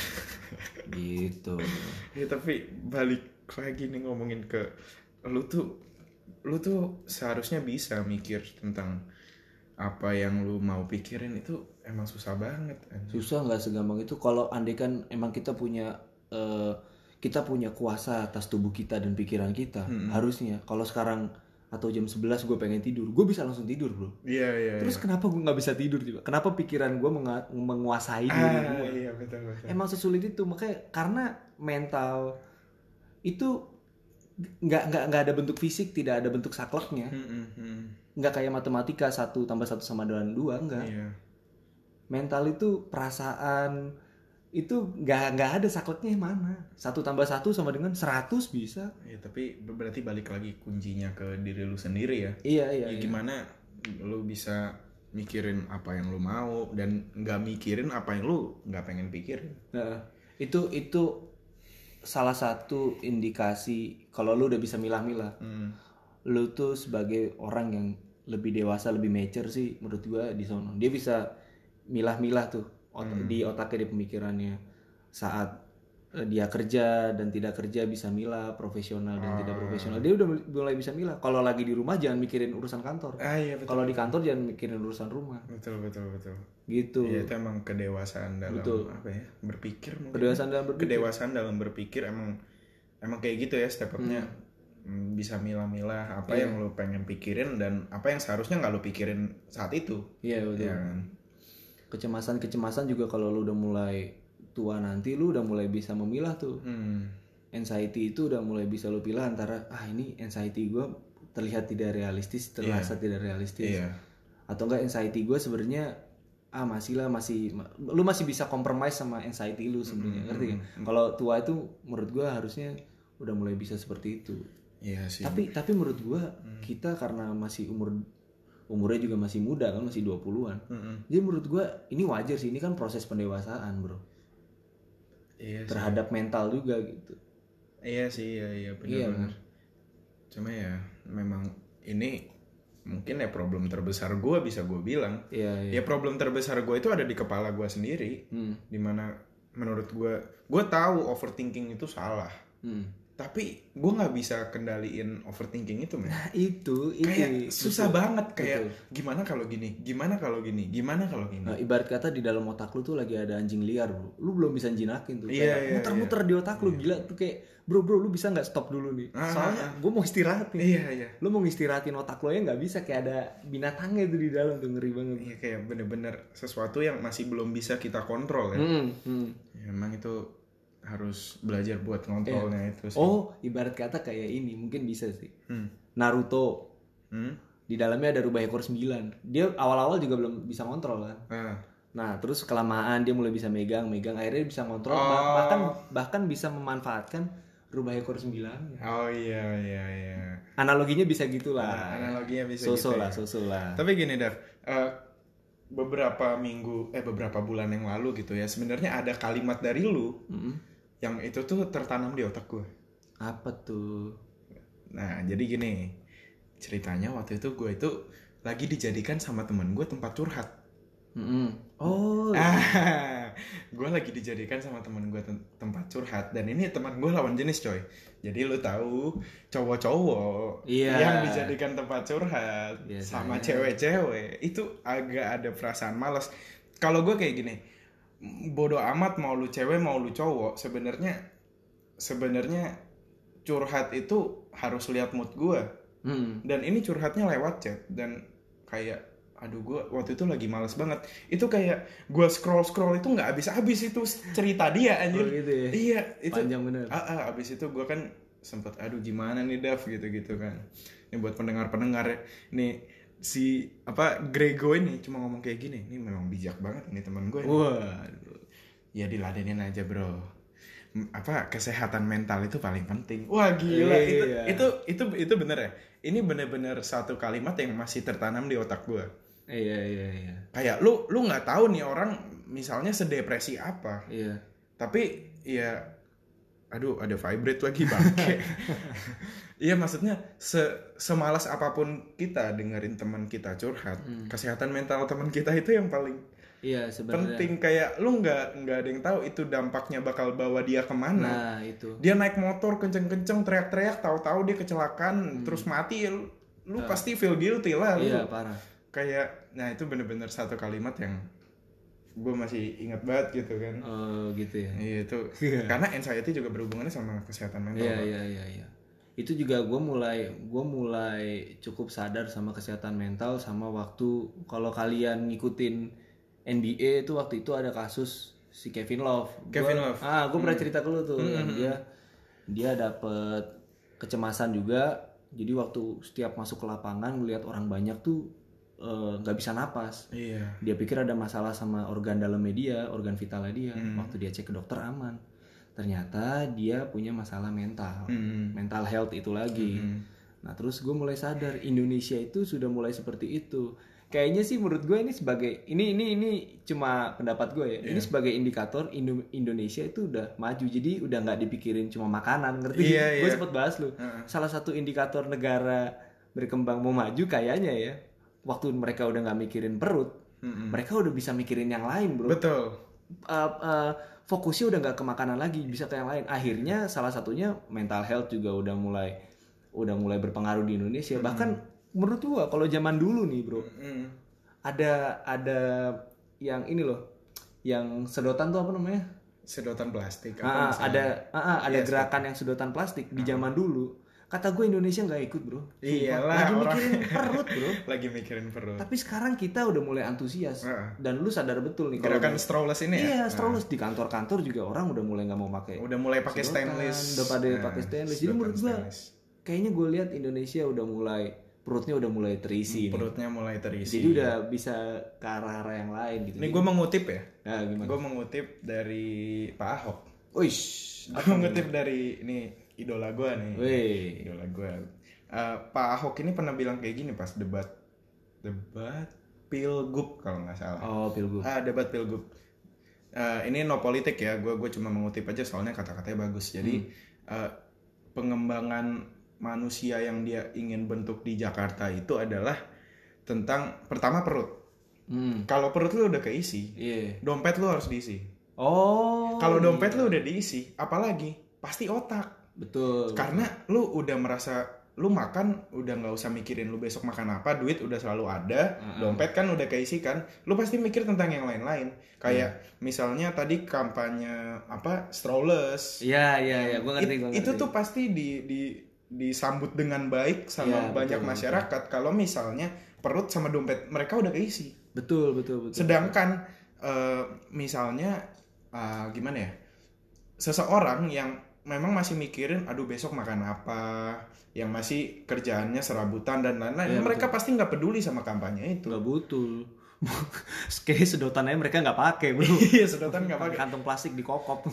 Speaker 2: gitu.
Speaker 1: Ya tapi balik lagi nih ngomongin ke lu tuh lu tuh seharusnya bisa mikir tentang apa yang lu mau pikirin itu emang susah banget. anjir.
Speaker 2: susah nggak segampang itu kalau andai kan emang kita punya eh, kita punya kuasa atas tubuh kita dan pikiran kita harusnya kalau sekarang atau jam 11 gue pengen tidur gue bisa langsung tidur bro
Speaker 1: Iya iya.
Speaker 2: terus kenapa gue nggak bisa tidur juga kenapa pikiran gue menga- menguasai
Speaker 1: iya.
Speaker 2: diri
Speaker 1: Ah,
Speaker 2: gue
Speaker 1: iya betul betul.
Speaker 2: emang sesulit itu makanya karena mental itu nggak nggak nggak ada bentuk fisik tidak ada bentuk sakleknya
Speaker 1: Hmm, hmm, hmm.
Speaker 2: nggak kayak matematika satu tambah satu sama dengan dua enggak
Speaker 1: Iya.
Speaker 2: mental itu perasaan itu nggak nggak ada sakleknya yang mana satu tambah satu sama dengan 100 bisa
Speaker 1: Ya tapi berarti balik lagi kuncinya ke diri lu sendiri ya.
Speaker 2: iya iya,
Speaker 1: Ya,
Speaker 2: iya.
Speaker 1: gimana lu bisa mikirin apa yang lu mau dan nggak mikirin apa yang lu nggak pengen pikirin.
Speaker 2: Nah, itu itu salah satu indikasi kalau lu udah bisa milah-milah
Speaker 1: Hmm.
Speaker 2: lu tuh sebagai orang yang lebih dewasa lebih mature sih menurut gua di sono dia bisa milah-milah tuh ot- di otaknya di pemikirannya saat eh, dia kerja dan tidak kerja bisa milah profesional dan tidak profesional dia udah mulai bisa milah kalau lagi di rumah jangan mikirin urusan kantor
Speaker 1: Ah iya betul.
Speaker 2: kalau di kantor jangan mikirin urusan rumah
Speaker 1: Betul betul betul.
Speaker 2: gitu
Speaker 1: Ya, itu emang kedewasaan dalam
Speaker 2: Betul.
Speaker 1: apa ya? Berpikir mungkin.
Speaker 2: kedewasaan dalam berpikir
Speaker 1: Kedewasaan dalam berpikir emang emang kayak gitu ya step up-nya. Hmm, Bisa milah-milah apa
Speaker 2: Iya.
Speaker 1: yang lu pengen pikirin dan apa yang seharusnya nggak lu pikirin saat itu.
Speaker 2: iya betul
Speaker 1: Ya kan?
Speaker 2: kecemasan kecemasan juga kalau lu udah mulai tua nanti lu udah mulai bisa memilah tuh
Speaker 1: Hmm.
Speaker 2: anxiety itu udah mulai bisa lu pilih antara ah ini anxiety gue terlihat tidak realistis terasa tidak realistis
Speaker 1: Iya.
Speaker 2: atau enggak anxiety gue sebenarnya ah masih lah masih ma- lu masih bisa kompromis sama anxiety lu sebenarnya ngerti
Speaker 1: Hmm.
Speaker 2: kan kalau tua itu menurut gue harusnya udah mulai bisa seperti itu
Speaker 1: Iya sih. Hmm.
Speaker 2: tapi tapi menurut gue kita karena masih umur umurnya juga masih muda kan masih 20-an
Speaker 1: Mm-mm.
Speaker 2: jadi menurut gue ini wajar sih ini kan proses pendewasaan bro
Speaker 1: Iya sih.
Speaker 2: terhadap mental juga gitu
Speaker 1: Iya sih, iya iya
Speaker 2: Iya,
Speaker 1: benar. Cuma ya memang ini mungkin ya problem terbesar gua bisa gue bilang.
Speaker 2: iya iya
Speaker 1: Ya problem terbesar gue itu ada di kepala gua sendiri.
Speaker 2: Hmm,
Speaker 1: dimana menurut gue gue tahu overthinking itu salah
Speaker 2: hmm.
Speaker 1: tapi gue nggak bisa kendaliin overthinking itu men
Speaker 2: Nah, itu itu
Speaker 1: kayak susah
Speaker 2: iya, Betul.
Speaker 1: banget kayak gimana kalau gini gimana kalau gini gimana kalau gini
Speaker 2: Nah, ibarat kata di dalam otak lu tuh lagi ada anjing liar, bro. Lu belum bisa jinakin tuh.
Speaker 1: Iya,
Speaker 2: Kayak
Speaker 1: iya,
Speaker 2: muter-muter di otak lu gila tuh kayak, "Bro, bro, lu bisa nggak stop dulu nih?
Speaker 1: Ah,
Speaker 2: Soalnya gue mau istirahat nih."
Speaker 1: iya iya
Speaker 2: Lu mau istirahatin otak lu aja nggak bisa kayak ada binatangnya tuh di dalam tuh ngeri banget.
Speaker 1: iya kayak bener-bener sesuatu yang masih belum bisa kita kontrol ya,
Speaker 2: Hmm, hmm. Iya.
Speaker 1: Ya, emang itu harus belajar buat ngontrolnya itu sih.
Speaker 2: Oh, ibarat kata kayak ini mungkin bisa sih.
Speaker 1: Hmm.
Speaker 2: Naruto
Speaker 1: Hmm?
Speaker 2: di dalamnya ada rubah ekor 9. Dia awal-awal juga belum bisa ngontrol kan.
Speaker 1: Ah.
Speaker 2: Nah, terus kelamaan dia mulai bisa megang, megang akhirnya bisa ngontrol
Speaker 1: Oh.
Speaker 2: bah- bahkan bahkan bisa memanfaatkan rubah ekor 9.
Speaker 1: oh iya iya iya
Speaker 2: Analoginya bisa gitulah.
Speaker 1: Nah, analoginya bisa gitu
Speaker 2: Ah. Soso
Speaker 1: ya.
Speaker 2: lah, soso lah.
Speaker 1: Tapi gini Dar, eh, beberapa minggu eh beberapa bulan yang lalu gitu ya, sebenarnya ada kalimat dari lu
Speaker 2: Mm-mm.
Speaker 1: yang itu tuh tertanam di otak gue.
Speaker 2: Apa tuh?
Speaker 1: Nah, jadi gini. Ceritanya waktu itu gue itu lagi dijadikan sama temen gue tempat curhat.
Speaker 2: Mm-mm. Oh,
Speaker 1: Ah, gue lagi dijadikan sama teman gue tem- tempat curhat dan ini teman gue lawan jenis coy jadi lu tahu cowok-cowok
Speaker 2: Iya.
Speaker 1: yang dijadikan tempat curhat
Speaker 2: Biasanya.
Speaker 1: sama cewek-cewek itu agak ada perasaan malas kalau gue kayak gini bodoh amat mau lu cewek mau lu cowok sebenarnya sebenarnya curhat itu harus lihat mood gue
Speaker 2: Hmm.
Speaker 1: dan ini curhatnya lewat chat dan kayak aduh gue waktu itu lagi males banget itu kayak gue scroll scroll itu nggak habis habis itu cerita dia
Speaker 2: Oh,
Speaker 1: anjir
Speaker 2: gitu ya.
Speaker 1: iya itu
Speaker 2: Panjang bener.
Speaker 1: ah, ah, abis itu gue kan sempet aduh gimana nih Dav gitu gitu kan ini buat pendengar pendengar ya nih si apa Grego ini cuma ngomong kayak gini ini memang bijak banget ini teman gue
Speaker 2: Oh. Wah.
Speaker 1: ya diladenin aja bro M- apa kesehatan mental itu paling penting wah gila itu
Speaker 2: Iya.
Speaker 1: itu itu itu bener ya ini bener-bener satu kalimat yang masih tertanam di otak gue
Speaker 2: Iya iya iya.
Speaker 1: kayak lu lu nggak tahu nih orang misalnya sedepresi apa
Speaker 2: Iya.
Speaker 1: tapi ya aduh ada vibrate lagi bangke iya maksudnya se semalas apapun kita dengerin teman kita curhat
Speaker 2: Hmm.
Speaker 1: kesehatan mental teman kita itu yang paling
Speaker 2: Iya sebenarnya.
Speaker 1: penting kayak lu nggak nggak ada yang tahu itu dampaknya bakal bawa dia kemana
Speaker 2: Nah, itu.
Speaker 1: dia naik motor kenceng-kenceng teriak-teriak tahu-tahu dia kecelakaan terus mati ya lu, lu
Speaker 2: Hmm. Nah.
Speaker 1: pasti feel guilty lah lu.
Speaker 2: Iya, parah.
Speaker 1: kayak nah itu bener-bener satu kalimat yang gue masih ingat banget gitu kan
Speaker 2: Oh, gitu ya.
Speaker 1: iya itu
Speaker 2: Iya.
Speaker 1: karena anxiety juga berhubungannya sama kesehatan mental
Speaker 2: Iya iya iya iya. Itu juga gue mulai gue mulai cukup sadar sama kesehatan mental sama waktu kalau kalian ngikutin NBA itu waktu itu ada kasus si Kevin Love. Gua-
Speaker 1: Kevin Love. Hmm.
Speaker 2: Ah gue pernah cerita ke lu tuh yang dia dia dapet kecemasan juga. Jadi waktu setiap masuk ke lapangan ngeliat orang banyak tuh eh, nggak bisa napas.
Speaker 1: iya
Speaker 2: Dia pikir ada masalah sama organ dalamnya dia, organ vitalnya dia.
Speaker 1: Hmm.
Speaker 2: Waktu dia cek ke dokter aman. Ternyata dia punya masalah mental.
Speaker 1: Mm-mm.
Speaker 2: Mental health itu lagi.
Speaker 1: Mm-mm.
Speaker 2: Nah, terus gue mulai sadar Indonesia itu sudah mulai seperti itu. Kayaknya sih menurut gue ini sebagai ini ini ini cuma pendapat gue ya.
Speaker 1: Iya.
Speaker 2: Ini sebagai indikator Indo- Indonesia itu udah maju. Jadi udah nggak dipikirin cuma makanan, ngerti?
Speaker 1: Iya,
Speaker 2: Gue
Speaker 1: iya.
Speaker 2: sempet bahas lu.
Speaker 1: Heeh.
Speaker 2: Salah satu indikator negara berkembang mau maju kayaknya ya. Waktu mereka udah nggak mikirin perut,
Speaker 1: Mm-mm.
Speaker 2: mereka udah bisa mikirin yang lain, Bro
Speaker 1: hmm. betul
Speaker 2: uh, uh, fokusnya udah nggak ke makanan lagi bisa ke yang lain akhirnya salah satunya mental health juga udah mulai udah mulai berpengaruh di Indonesia bahkan menurut gua kalau zaman dulu nih bro
Speaker 1: Mm-mm.
Speaker 2: ada ada yang ini loh yang sedotan tuh apa namanya
Speaker 1: sedotan plastik
Speaker 2: Ah,
Speaker 1: apa misalnya?
Speaker 2: ada ah, ah, ada
Speaker 1: Iya,
Speaker 2: gerakan yang sedotan plastik di zaman dulu kata gue Indonesia nggak ikut bro Sumpah.
Speaker 1: Iyalah,
Speaker 2: lagi
Speaker 1: orang-
Speaker 2: mikirin perut bro
Speaker 1: lagi mikirin perut
Speaker 2: tapi sekarang kita udah mulai antusias
Speaker 1: Heeh.
Speaker 2: dan lu sadar betul nih kalau
Speaker 1: Ah. gerakan strawless ini ya
Speaker 2: Iya, strollers di kantor-kantor juga orang udah mulai nggak mau pakai.
Speaker 1: udah mulai pakai
Speaker 2: Sedotan,
Speaker 1: stainless
Speaker 2: udah pada
Speaker 1: Nah,
Speaker 2: pakai stainless. Jadi menurut
Speaker 1: sedotan
Speaker 2: gua
Speaker 1: stainless.
Speaker 2: kayaknya gue lihat Indonesia udah mulai perutnya udah mulai terisi. nih.
Speaker 1: perutnya mulai Hmm, terisi iya.
Speaker 2: Jadi udah bisa ke arah-arah yang lain gitu.
Speaker 1: ini gua mengutip ya
Speaker 2: Nah, gimana?
Speaker 1: gua mengutip dari Pak Ahok
Speaker 2: Wish.
Speaker 1: gua mengutip dari ini idola gua nih
Speaker 2: Weh.
Speaker 1: idola gua Eh, Pak Ahok ini pernah bilang kayak gini pas debat debat pilgub kalau nggak salah
Speaker 2: Oh, pilgub.
Speaker 1: Ah, debat pilgub. Eh, ini no politik ya, gue gue cuma mengutip aja soalnya kata-katanya bagus. Jadi
Speaker 2: Hmm.
Speaker 1: eh, pengembangan manusia yang dia ingin bentuk di Jakarta itu adalah tentang pertama perut.
Speaker 2: Hmm.
Speaker 1: Kalau perut lu udah keisi,
Speaker 2: Iya.
Speaker 1: dompet lu harus diisi.
Speaker 2: Oh.
Speaker 1: Kalau
Speaker 2: iya.
Speaker 1: dompet lu udah diisi, apalagi pasti otak.
Speaker 2: betul.
Speaker 1: Karena lu udah merasa lu makan udah nggak usah mikirin lu besok makan apa, duit udah selalu ada,
Speaker 2: Mm-mm.
Speaker 1: dompet kan udah keisi kan lu pasti mikir tentang yang lain-lain kayak
Speaker 2: Hmm.
Speaker 1: misalnya tadi kampanye apa strollers
Speaker 2: Iya, iya, iya. Gue ngerti,
Speaker 1: It-
Speaker 2: gue ngerti.
Speaker 1: itu tuh pasti di di disambut dengan baik
Speaker 2: Iya,
Speaker 1: sama
Speaker 2: betul,
Speaker 1: banyak
Speaker 2: betul.
Speaker 1: masyarakat kalau misalnya perut sama dompet mereka udah keisi
Speaker 2: betul, betul, betul.
Speaker 1: sedangkan eh, misalnya eh, gimana ya seseorang yang memang masih mikirin aduh besok makan apa yang masih kerjaannya serabutan dan lain-lain
Speaker 2: Iya,
Speaker 1: mereka pasti nggak peduli sama kampanye itu
Speaker 2: nggak butuh. Kayaknya sedotannya mereka nggak pakai, bro.
Speaker 1: iya sedotan nggak pakai
Speaker 2: Kantong plastik dikokop.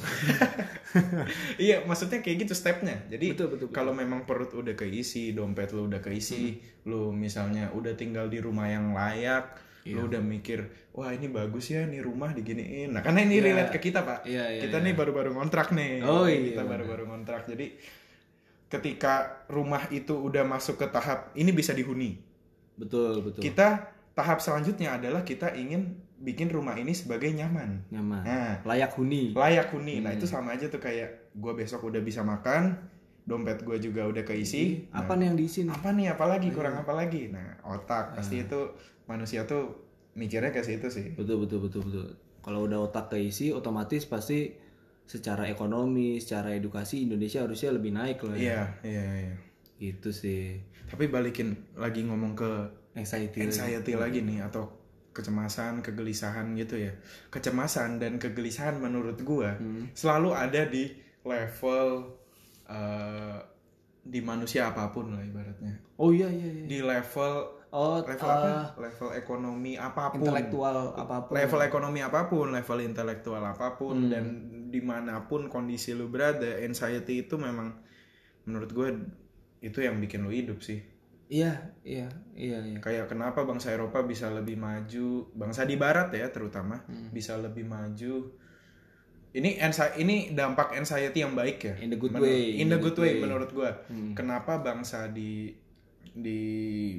Speaker 1: iya maksudnya kayak gitu stepnya jadi
Speaker 2: Betul, betul, betul.
Speaker 1: kalau memang perut udah keisi dompet lu udah keisi lu misalnya udah tinggal di rumah yang layak
Speaker 2: Iya.
Speaker 1: lu udah mikir wah ini bagus ya nih rumah diginiin nah karena ini
Speaker 2: Iya.
Speaker 1: relate ke kita pak
Speaker 2: Iya, iya,
Speaker 1: kita nih baru-baru ngontrak nih
Speaker 2: Oh, iya,
Speaker 1: kita
Speaker 2: benar.
Speaker 1: baru-baru ngontrak jadi ketika rumah itu udah masuk ke tahap ini bisa dihuni
Speaker 2: Betul, betul.
Speaker 1: kita tahap selanjutnya adalah kita ingin bikin rumah ini sebagai nyaman.
Speaker 2: nyaman
Speaker 1: Nah,
Speaker 2: layak huni
Speaker 1: layak huni. Nah,
Speaker 2: Hmm.
Speaker 1: itu sama aja tuh kayak gue besok udah bisa makan, dompet gue juga udah keisi.
Speaker 2: Iya, apa
Speaker 1: Nah,
Speaker 2: nih yang diisi nih
Speaker 1: apa nih apalagi
Speaker 2: Iya.
Speaker 1: kurang apa lagi? Nah, otak pasti itu manusia tuh mikirnya ke situ sih.
Speaker 2: betul betul betul betul kalau udah otak keisi otomatis pasti secara ekonomi secara edukasi Indonesia harusnya lebih naik lah ya.
Speaker 1: Iya, iya, iya.
Speaker 2: gitu sih
Speaker 1: Tapi balikin lagi ngomong ke
Speaker 2: anxiety
Speaker 1: anxiety lagi nih atau kecemasan, kegelisahan gitu ya. Kecemasan dan kegelisahan menurut gua
Speaker 2: Hmm.
Speaker 1: selalu ada di level eh, di manusia apapun lah ibaratnya.
Speaker 2: oh iya iya, iya.
Speaker 1: Di level
Speaker 2: oh
Speaker 1: level
Speaker 2: eh,
Speaker 1: apa? Level ekonomi apapun.
Speaker 2: intelektual apapun
Speaker 1: Level ekonomi apapun, level intelektual apapun
Speaker 2: Hmm.
Speaker 1: dan dimanapun kondisi lu berada, anxiety itu memang menurut gue itu yang bikin lu hidup sih.
Speaker 2: iya iya iya iya
Speaker 1: Kayak kenapa bangsa Eropa bisa lebih maju, bangsa di Barat ya terutama
Speaker 2: Hmm.
Speaker 1: bisa lebih maju. Ini anxi- ini dampak anxiety yang baik ya.
Speaker 2: In the good
Speaker 1: Menur-
Speaker 2: way,
Speaker 1: In the good way, menurut gue.
Speaker 2: Hmm.
Speaker 1: Kenapa bangsa di di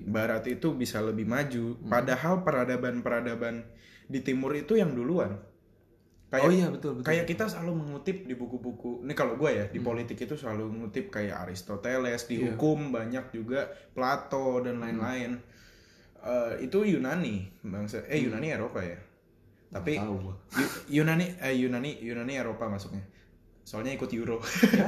Speaker 1: Barat itu bisa lebih maju,
Speaker 2: Hmm.
Speaker 1: padahal peradaban-peradaban di Timur itu yang duluan. Kayak
Speaker 2: oh iya betul betul Hmm.
Speaker 1: kayak kita selalu mengutip di buku-buku ini kalau gue ya di politik itu selalu mengutip kayak Aristoteles di
Speaker 2: Iya. Hmm.
Speaker 1: hukum banyak juga Plato dan lain-lain Eh, itu Yunani bangsa eh Yunani Eropa ya tapi
Speaker 2: Hmm. Nggak tahu gua.
Speaker 1: Yu- Yunani eh Yunani Yunani Eropa masuknya soalnya ikut Euro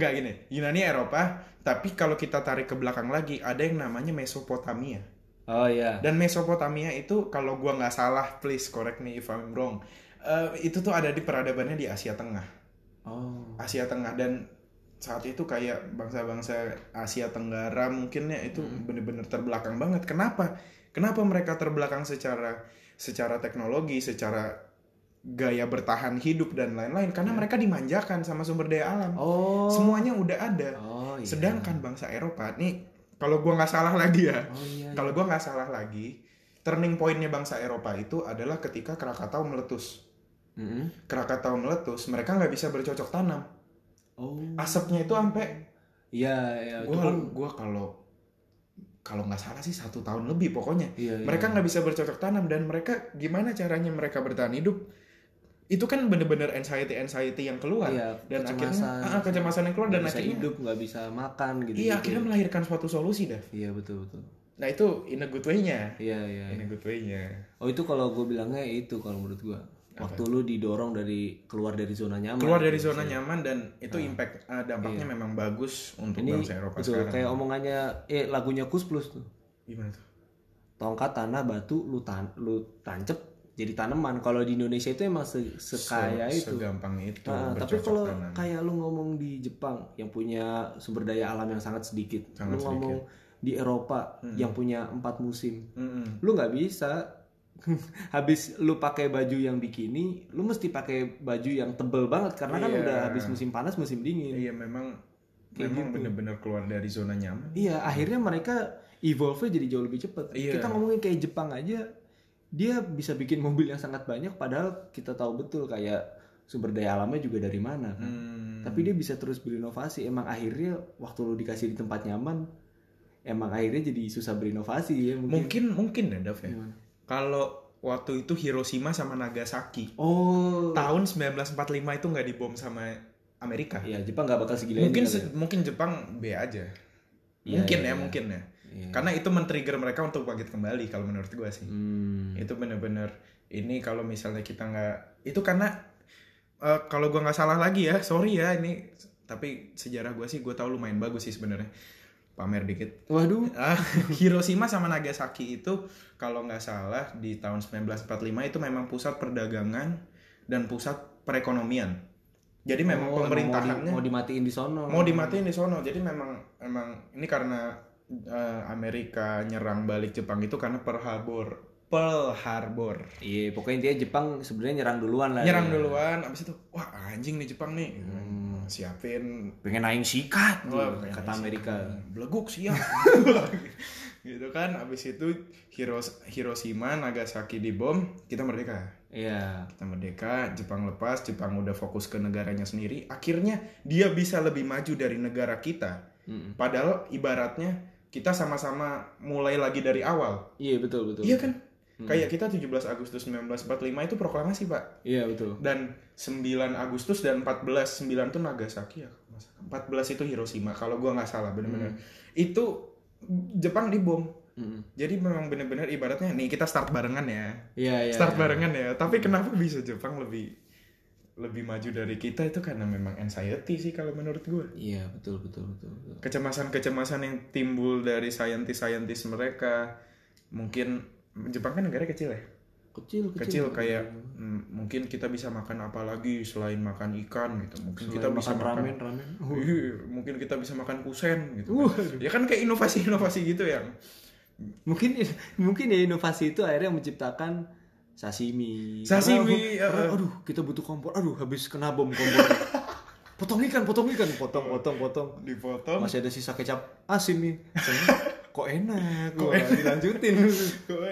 Speaker 1: nggak gini Yunani Eropa tapi kalau kita tarik ke belakang lagi ada yang namanya Mesopotamia
Speaker 2: oh iya
Speaker 1: dan Mesopotamia itu kalau gua nggak salah, please correct me if I'm wrong. Eh, itu tuh ada di peradabannya di Asia Tengah.
Speaker 2: oh
Speaker 1: Asia Tengah dan saat itu kayak bangsa-bangsa Asia Tenggara mungkinnya itu
Speaker 2: Hmm.
Speaker 1: bener-bener terbelakang banget. Kenapa? Kenapa mereka terbelakang secara secara teknologi, secara gaya bertahan hidup dan lain-lain? Karena mereka dimanjakan sama sumber daya alam.
Speaker 2: Ya. oh
Speaker 1: Semuanya udah ada.
Speaker 2: oh iya
Speaker 1: Sedangkan bangsa Eropa nih, kalau gua nggak salah lagi ya.
Speaker 2: oh iya iya.
Speaker 1: Kalau gua nggak salah lagi, turning pointnya bangsa Eropa itu adalah ketika Krakatau meletus.
Speaker 2: Mm-mm.
Speaker 1: Krakatau meletus, mereka nggak bisa bercocok tanam.
Speaker 2: oh
Speaker 1: Asapnya itu sampai
Speaker 2: iya iya itu
Speaker 1: gua
Speaker 2: kan
Speaker 1: gua kalau kalau nggak salah sih satu tahun lebih pokoknya.
Speaker 2: iya, iya.
Speaker 1: Mereka nggak bisa bercocok tanam dan mereka gimana caranya mereka bertahan hidup? Itu kan bener-bener anxiety anxiety yang keluar
Speaker 2: iya,
Speaker 1: dan akhirnya
Speaker 2: kecemasan.
Speaker 1: ah, kecemasan yang keluar dan
Speaker 2: Nggak bisa
Speaker 1: akhirnya
Speaker 2: hidup nggak bisa makan gitu
Speaker 1: iya akhirnya melahirkan suatu solusi dah.
Speaker 2: iya betul betul
Speaker 1: Nah itu in a good way-nya.
Speaker 2: iya iya
Speaker 1: In a good way-nya.
Speaker 2: oh itu kalau gue bilangnya itu kalau menurut gue waktu lu didorong dari keluar dari zona nyaman
Speaker 1: keluar dari
Speaker 2: Gitu.
Speaker 1: zona nyaman dan itu impact eh, dampaknya memang bagus untuk
Speaker 2: Ah. Iya. ini
Speaker 1: bangsa Eropa
Speaker 2: betul,
Speaker 1: sekarang.
Speaker 2: kayak omongannya eh lagunya Kus Plus tuh
Speaker 1: Gimana tuh?
Speaker 2: tongkat tanah batu lu tan lu tancep jadi tanaman kalau di Indonesia itu emang se- sekaya
Speaker 1: Se-
Speaker 2: itu
Speaker 1: Segampang itu.
Speaker 2: Ah,
Speaker 1: Nah,
Speaker 2: tapi
Speaker 1: bercocok
Speaker 2: kalau
Speaker 1: tanam.
Speaker 2: kayak lu ngomong di Jepang yang punya sumber daya alam yang sangat sedikit,
Speaker 1: Sangat Hmm.
Speaker 2: lu ngomong di Eropa yang punya empat musim,
Speaker 1: Mm-mm.
Speaker 2: lu nggak bisa habis lu pakai baju yang bikini, lu mesti pakai baju yang tebel banget karena kan
Speaker 1: Iya.
Speaker 2: udah habis musim panas musim dingin.
Speaker 1: Iya memang
Speaker 2: Kayak
Speaker 1: memang
Speaker 2: gitu.
Speaker 1: bener-bener keluar dari zona nyaman.
Speaker 2: Iya, akhirnya mereka evolve jadi jauh lebih cepat.
Speaker 1: Iya.
Speaker 2: Kita ngomongin kayak Jepang aja, dia bisa bikin mobil yang sangat banyak, padahal kita tahu betul kayak sumber daya alamnya juga dari mana. kan.
Speaker 1: Hmm.
Speaker 2: Tapi dia bisa terus berinovasi. Emang akhirnya waktu lu dikasih di tempat nyaman, emang akhirnya jadi susah berinovasi ya mungkin. Iya.
Speaker 1: mungkin mungkin ya Dav ya.
Speaker 2: Gimana?
Speaker 1: Kalau waktu itu Hiroshima sama Nagasaki
Speaker 2: Oh,
Speaker 1: tahun 1945 itu nggak dibom sama Amerika.
Speaker 2: ya Jepang nggak bakal segila
Speaker 1: mungkin
Speaker 2: ini. kali
Speaker 1: se- mungkin Jepang B aja.
Speaker 2: Iya,
Speaker 1: mungkin
Speaker 2: iya,
Speaker 1: ya,
Speaker 2: iya.
Speaker 1: mungkin ya.
Speaker 2: ya.
Speaker 1: Karena itu men-trigger mereka untuk bangkit kembali kalau menurut gua sih.
Speaker 2: Hmm.
Speaker 1: itu bener-bener ini kalau misalnya kita nggak itu karena eh, kalau gua nggak salah lagi ya sorry ya ini tapi sejarah gua sih gue tahu lumayan bagus sih sebenarnya pamer dikit
Speaker 2: Waduh.
Speaker 1: Ah, Hiroshima sama Nagasaki itu kalau nggak salah di tahun 1945 itu memang pusat perdagangan dan pusat perekonomian jadi memang
Speaker 2: Oh, emang
Speaker 1: pemerintahannya
Speaker 2: mau, di- mau dimatiin di sono.
Speaker 1: mau dimatiin di sono jadi memang emang ini karena eh, Amerika nyerang balik Jepang itu karena Pearl Harbor Pearl Harbor
Speaker 2: Iya, pokoknya intinya Jepang sebenarnya nyerang duluan lah.
Speaker 1: nyerang
Speaker 2: ya.
Speaker 1: duluan abis itu wah anjing nih Jepang nih siapin
Speaker 2: Iya. Pengen naik sikat tuh,
Speaker 1: Wah, pengen
Speaker 2: Hmm. kata
Speaker 1: naik
Speaker 2: Amerika.
Speaker 1: beleguk siap gitu kan abis itu Hiros- Hiroshima Nagasaki dibom kita merdeka
Speaker 2: Iya.
Speaker 1: kita merdeka Jepang lepas Jepang udah fokus ke negaranya sendiri akhirnya dia bisa lebih maju dari negara kita
Speaker 2: Mm-mm.
Speaker 1: Padahal ibaratnya kita sama-sama mulai lagi dari awal.
Speaker 2: Iya betul betul.
Speaker 1: Iya kan?
Speaker 2: Hmm.
Speaker 1: Kayak kita 17 Agustus 1945 itu proklamasi, Pak.
Speaker 2: Iya betul.
Speaker 1: Dan 9 Agustus dan 14 9 itu Nagasaki ya. kalau nggak salah. 14 itu Hiroshima kalau gua nggak salah
Speaker 2: Hmm.
Speaker 1: bener-bener. Itu Jepang dibom.
Speaker 2: Mm-mm.
Speaker 1: Jadi memang bener-bener ibaratnya nih kita start barengan ya.
Speaker 2: Iya iya.
Speaker 1: start
Speaker 2: iya.
Speaker 1: barengan ya. Tapi kenapa bisa Jepang lebih lebih maju dari kita itu karena memang anxiety sih kalau menurut gue.
Speaker 2: Iya betul betul betul. betul.
Speaker 1: Kecemasan-kecemasan yang timbul dari saintis-saintis mereka. Mungkin Jepang kan negara kecil ya.
Speaker 2: Kecil
Speaker 1: Kecil kayak mm, mungkin kita bisa makan apa lagi selain makan ikan gitu. Mungkin
Speaker 2: Selain
Speaker 1: kita bisa
Speaker 2: makan
Speaker 1: makan
Speaker 2: ramen ramen.
Speaker 1: Iya, mungkin kita bisa makan kusen gitu. kan.
Speaker 2: Waduh.
Speaker 1: Ya kan kayak inovasi-inovasi gitu yang
Speaker 2: mungkin mungkin ya inovasi itu akhirnya menciptakan sashimi.
Speaker 1: Sashimi, eh,
Speaker 2: Karena- karena, aduh, kita butuh kompor. Aduh, habis kena bom kompor. potong ikan, potong ikan, potong, potong, potong.
Speaker 1: dipotong.
Speaker 2: Masih ada sisa kecap asin nih. Kok enak, kok dilanjutin.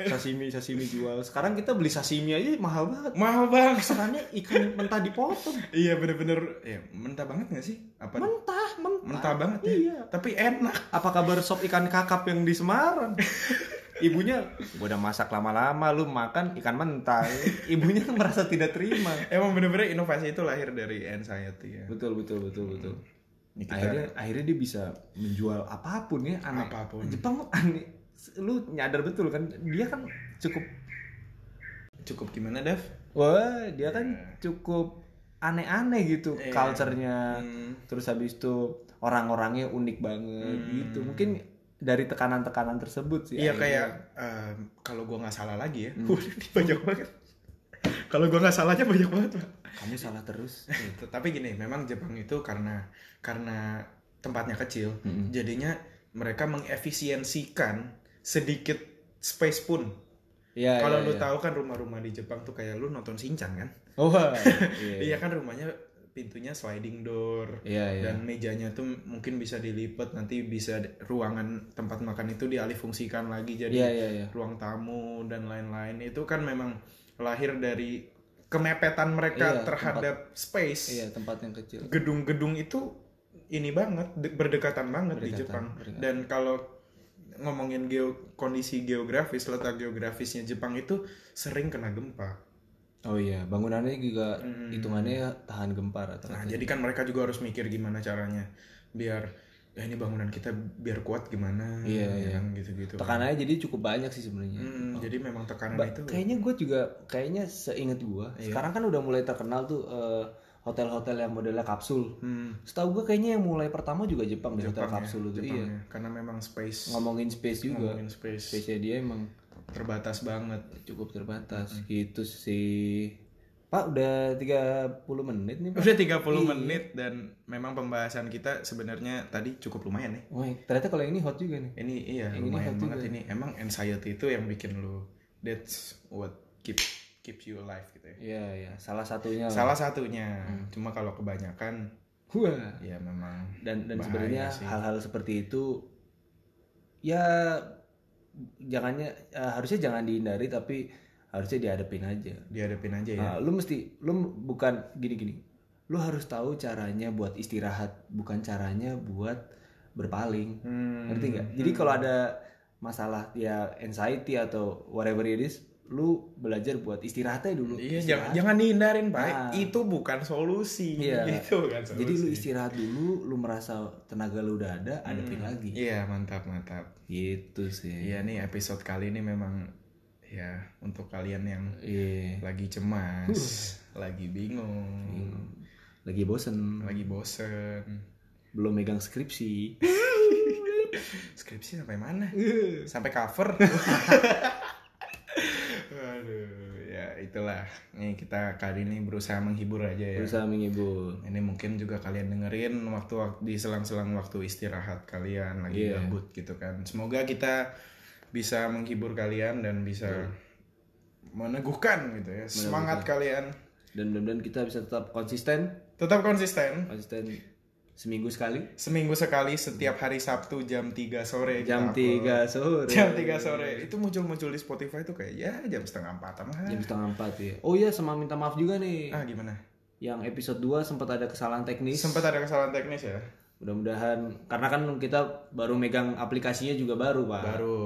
Speaker 2: Sashimi, sashimi jual. Sekarang kita beli sashimi aja mahal banget.
Speaker 1: Mahal banget.
Speaker 2: Kesannya ikan mentah dipotong.
Speaker 1: Iya bener-bener ya, mentah banget gak sih? Apa
Speaker 2: Mentah, mentah.
Speaker 1: mentah banget ya?
Speaker 2: Iya.
Speaker 1: Tapi enak.
Speaker 2: Apa kabar sop ikan kakap yang di Semarang? Ibunya, gue udah masak lama-lama, lu makan ikan mentah. Ibunya merasa tidak terima.
Speaker 1: Emang bener-bener inovasi itu lahir dari anxiety ya.
Speaker 2: Betul, betul, betul, betul.
Speaker 1: Ini kita-
Speaker 2: Akhirnya, akhirnya dia bisa menjual apapun ya, aneh.
Speaker 1: Apapun.
Speaker 2: Jepang aneh. Lu nyadar betul kan, dia kan cukup,
Speaker 1: cukup gimana, Dev?
Speaker 2: wah dia kan cukup aneh-aneh gitu
Speaker 1: Iya.
Speaker 2: culture-nya.
Speaker 1: Hmm,
Speaker 2: Terus habis itu orang-orangnya unik banget gitu. Mungkin dari tekanan-tekanan tersebut sih.
Speaker 1: Iya
Speaker 2: akhirnya.
Speaker 1: kayak em, kalau gua nggak salah lagi ya. Waduh, ini banyak banget. Kalau gua nggak salahnya banyak banget. Pak.
Speaker 2: kamu salah terus.
Speaker 1: Gitu. Tapi gini, memang Jepang itu karena karena tempatnya kecil,
Speaker 2: Mm-mm.
Speaker 1: jadinya mereka mengefisiensikan sedikit space pun.
Speaker 2: Iya.
Speaker 1: Kalau
Speaker 2: iya,
Speaker 1: lu
Speaker 2: iya.
Speaker 1: tahu kan rumah-rumah di Jepang tuh kayak lu nonton Shinchan kan?
Speaker 2: Oh, iya.
Speaker 1: Iya kan rumahnya pintunya sliding door
Speaker 2: Iya, iya.
Speaker 1: dan mejanya tuh mungkin bisa dilipat nanti bisa d- ruangan tempat makan itu dialihfungsikan lagi jadi
Speaker 2: Iya, iya, iya.
Speaker 1: ruang tamu dan lain-lain itu kan memang lahir dari kemepetan mereka
Speaker 2: Iya, tempat-
Speaker 1: terhadap space
Speaker 2: Iya, tempat yang kecil.
Speaker 1: gedung-gedung itu ini banget de- berdekatan banget di
Speaker 2: Berdekatan,
Speaker 1: Jepang
Speaker 2: berdekatan.
Speaker 1: dan kalau ngomongin geo kondisi geografis letak geografisnya Jepang itu sering kena gempa
Speaker 2: Oh iya, bangunannya juga
Speaker 1: Hmm.
Speaker 2: hitungannya tahan gempa
Speaker 1: Nah,
Speaker 2: rata-rata.
Speaker 1: jadi kan mereka juga harus mikir gimana caranya biar ya ini bangunan kita biar kuat gimana ya
Speaker 2: Iya, iya. Oh.
Speaker 1: kan, gitu-gitu.
Speaker 2: Tekanannya jadi cukup banyak sih sebenarnya.
Speaker 1: Mm, jadi memang tekanan
Speaker 2: Ba-
Speaker 1: itu Iya.
Speaker 2: Kayaknya gue juga, kayaknya seingat gue, sekarang kan udah mulai terkenal tuh eh, hotel-hotel yang modelnya kapsul.
Speaker 1: Hmm,
Speaker 2: Setahu gue kayaknya yang mulai pertama juga Jepang, di hotel
Speaker 1: Jepang ya,
Speaker 2: kapsul itu.
Speaker 1: Jepang
Speaker 2: Iya.
Speaker 1: ya. karena memang space
Speaker 2: Ngomongin space juga.
Speaker 1: ngomongin space
Speaker 2: Space-nya dia emang
Speaker 1: terbatas banget.
Speaker 2: cukup terbatas gitu sih. Pak udah 30 menit nih, Pak.
Speaker 1: Udah 30
Speaker 2: Iya.
Speaker 1: menit dan memang pembahasan kita sebenarnya tadi cukup lumayan nih.
Speaker 2: Wah, ternyata kalau yang ini hot juga nih.
Speaker 1: Ini iya
Speaker 2: Yang ini
Speaker 1: lumayan
Speaker 2: hot
Speaker 1: banget
Speaker 2: juga.
Speaker 1: ini. Emang anxiety itu yang bikin lu that's what keep keeps you alive gitu ya.
Speaker 2: Iya, iya, Hmm. salah satunya. lah.
Speaker 1: Salah satunya. Cuma kalau kebanyakan
Speaker 2: Wah.
Speaker 1: ya memang
Speaker 2: Dan dan
Speaker 1: Bahaya
Speaker 2: sebenarnya
Speaker 1: sih.
Speaker 2: hal-hal seperti itu ya jangannya eh, harusnya jangan dihindari tapi harusnya dihadapin aja.
Speaker 1: dihadapin aja ya.
Speaker 2: Nah, lu mesti lu m- bukan gini-gini. Lu harus tahu caranya buat istirahat, bukan caranya buat berpaling.
Speaker 1: Hmm.
Speaker 2: ngerti nggak? Jadi kalau ada masalah ya anxiety atau whatever it is, lu belajar buat istirahatnya dulu.
Speaker 1: Iya, jangan
Speaker 2: Istirahat.
Speaker 1: jangan dihindarin, Pak.
Speaker 2: Nah.
Speaker 1: Itu bukan solusi.
Speaker 2: Iya.
Speaker 1: Itu bukan solusi.
Speaker 2: Jadi lu istirahat dulu, lu merasa tenaga lu udah ada, adepin lagi.
Speaker 1: Hmm. Iya, mantap, mantap.
Speaker 2: Gitu sih.
Speaker 1: Iya nih episode kali ini memang ya untuk kalian yang
Speaker 2: Iya.
Speaker 1: lagi cemas, lagi bingung, Hmm.
Speaker 2: Lagi bosen,
Speaker 1: lagi bosen.
Speaker 2: belum megang skripsi.
Speaker 1: Skripsi sampai mana? Sampai cover. Waduh, ya itulah. Nih kita kali ini berusaha menghibur aja ya.
Speaker 2: Berusaha menghibur.
Speaker 1: Ini mungkin juga kalian dengerin waktu, waktu di selang-selang waktu istirahat kalian lagi
Speaker 2: Iya.
Speaker 1: gabut gitu kan. Semoga kita bisa menghibur kalian dan bisa meneguhkan gitu ya semangat kalian.
Speaker 2: Dan mudah-mudahan kita bisa tetap konsisten,
Speaker 1: Tetap konsisten.
Speaker 2: konsisten seminggu sekali.
Speaker 1: Seminggu sekali setiap hari Sabtu jam 3 sore kita
Speaker 2: Jam
Speaker 1: upload.
Speaker 2: 3 sore.
Speaker 1: Iya, Jam 3 sore. Itu muncul-muncul di Spotify tuh kayak ya jam setengah 4 lah.
Speaker 2: Jam setengah empat ya. Oh iya, sama minta maaf juga nih.
Speaker 1: Ah gimana?
Speaker 2: yang episode 2 sempat ada kesalahan teknis
Speaker 1: Sempat ada kesalahan teknis ya.
Speaker 2: Mudah-mudahan karena kan kita baru megang aplikasinya juga baru, Pak.
Speaker 1: baru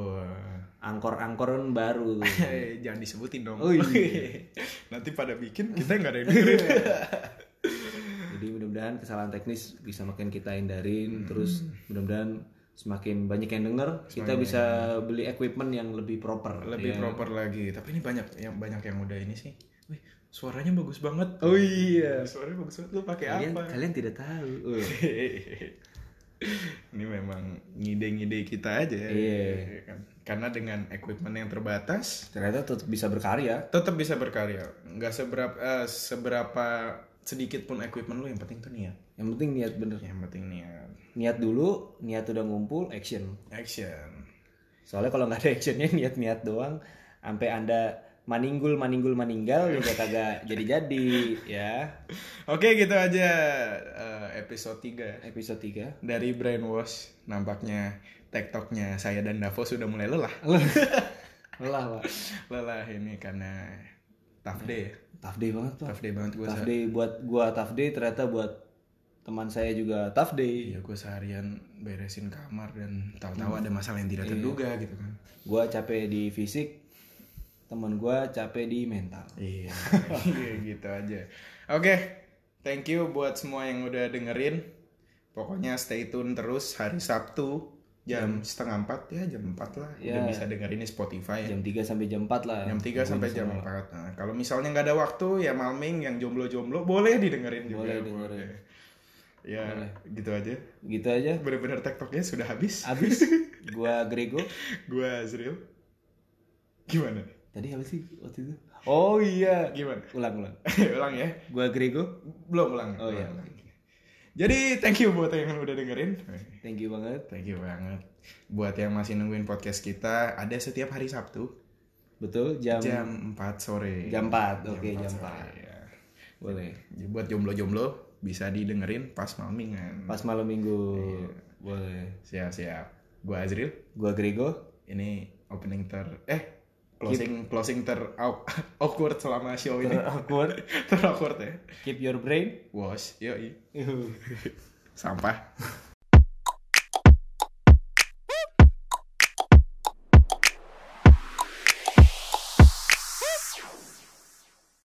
Speaker 2: Angkor-angkor kan baru.
Speaker 1: eh, jangan disebutin dong
Speaker 2: Oh, iya.
Speaker 1: nanti pada bikin kita nggak ada yang dengerin
Speaker 2: Jadi mudah-mudahan kesalahan teknis bisa makin kita
Speaker 1: Hmm.
Speaker 2: hindarin terus mudah-mudahan semakin banyak yang denger kita bisa beli equipment yang lebih proper.
Speaker 1: lebih
Speaker 2: ya.
Speaker 1: proper lagi tapi ini banyak yang banyak yang udah ini sih Wih, suaranya bagus banget
Speaker 2: Oh iya.
Speaker 1: suaranya bagus banget lu pakai
Speaker 2: Kalian,
Speaker 1: apa Iya.
Speaker 2: kalian tidak tahu. Uh,
Speaker 1: ini memang ngide-ngide kita aja
Speaker 2: Iya.
Speaker 1: kan? karena dengan equipment yang terbatas
Speaker 2: ternyata tetap bisa berkarya.
Speaker 1: tetap bisa berkarya nggak seberapa eh, seberapa sedikit pun equipment lu yang penting tuh niat
Speaker 2: Yang penting niat bener.
Speaker 1: yang penting niat
Speaker 2: Niat dulu, niat udah ngumpul, action.
Speaker 1: action
Speaker 2: Soalnya kalau nggak ada actionnya niat-niat doang, sampai anda maninggul maninggul maninggal juga kagak jadi-jadi ya.
Speaker 1: oke gitu aja eh, episode 3
Speaker 2: Episode 3
Speaker 1: dari brainwash nampaknya tektoknya saya dan Davo sudah mulai lelah
Speaker 2: Lelah pak.
Speaker 1: lelah ini karena tough day ya
Speaker 2: Tough day banget pak.
Speaker 1: tough day banget gue
Speaker 2: Tough day buat gua tough day ternyata buat teman saya juga tough day.
Speaker 1: Iya gue seharian beresin kamar dan tahu-tahu ada masalah yang tidak terduga gitu kan.
Speaker 2: Gua capek di fisik, teman gua capek di mental.
Speaker 1: Iya. Iya gitu aja. Oke, thank you buat semua yang udah dengerin. Pokoknya stay tune terus hari Sabtu jam setengah empat ya jam empat lah udah
Speaker 2: Ya.
Speaker 1: bisa dengerin di Spotify ya.
Speaker 2: Jam 3 sampai jam 4 lah.
Speaker 1: jam 3 sampai jam 4 Nah, kalau misalnya nggak ada waktu ya malming yang jomblo-jomblo boleh didengerin juga
Speaker 2: Boleh dengerin.
Speaker 1: ya gitu aja
Speaker 2: Gitu aja.
Speaker 1: bener-bener tektoknya sudah habis
Speaker 2: Abis gua Grego.
Speaker 1: gue Azril gimana
Speaker 2: Tadi apa sih waktu itu? Oh iya.
Speaker 1: gimana
Speaker 2: Ulang ulang.
Speaker 1: ulang ya
Speaker 2: Gua Grego.
Speaker 1: belum ulang
Speaker 2: Oh, iya.
Speaker 1: Ulang. jadi thank you buat yang udah dengerin
Speaker 2: Thank you banget.
Speaker 1: thank you banget buat yang masih nungguin podcast kita ada setiap hari Sabtu
Speaker 2: Betul jam
Speaker 1: jam 4 sore
Speaker 2: Jam 4. Oke, jam
Speaker 1: sore,
Speaker 2: 4.
Speaker 1: ya.
Speaker 2: boleh.
Speaker 1: Jadi buat jomblo-jomblo bisa didengerin pas malmingan
Speaker 2: Pas malam Minggu. Iya, Boleh.
Speaker 1: siap siap gue Azril
Speaker 2: Gua Grego.
Speaker 1: ini opening ter eh closing closing ter au- awkward selama show ini
Speaker 2: Awkward.
Speaker 1: ter awkward ya
Speaker 2: Keep your brain.
Speaker 1: wash yoi sampah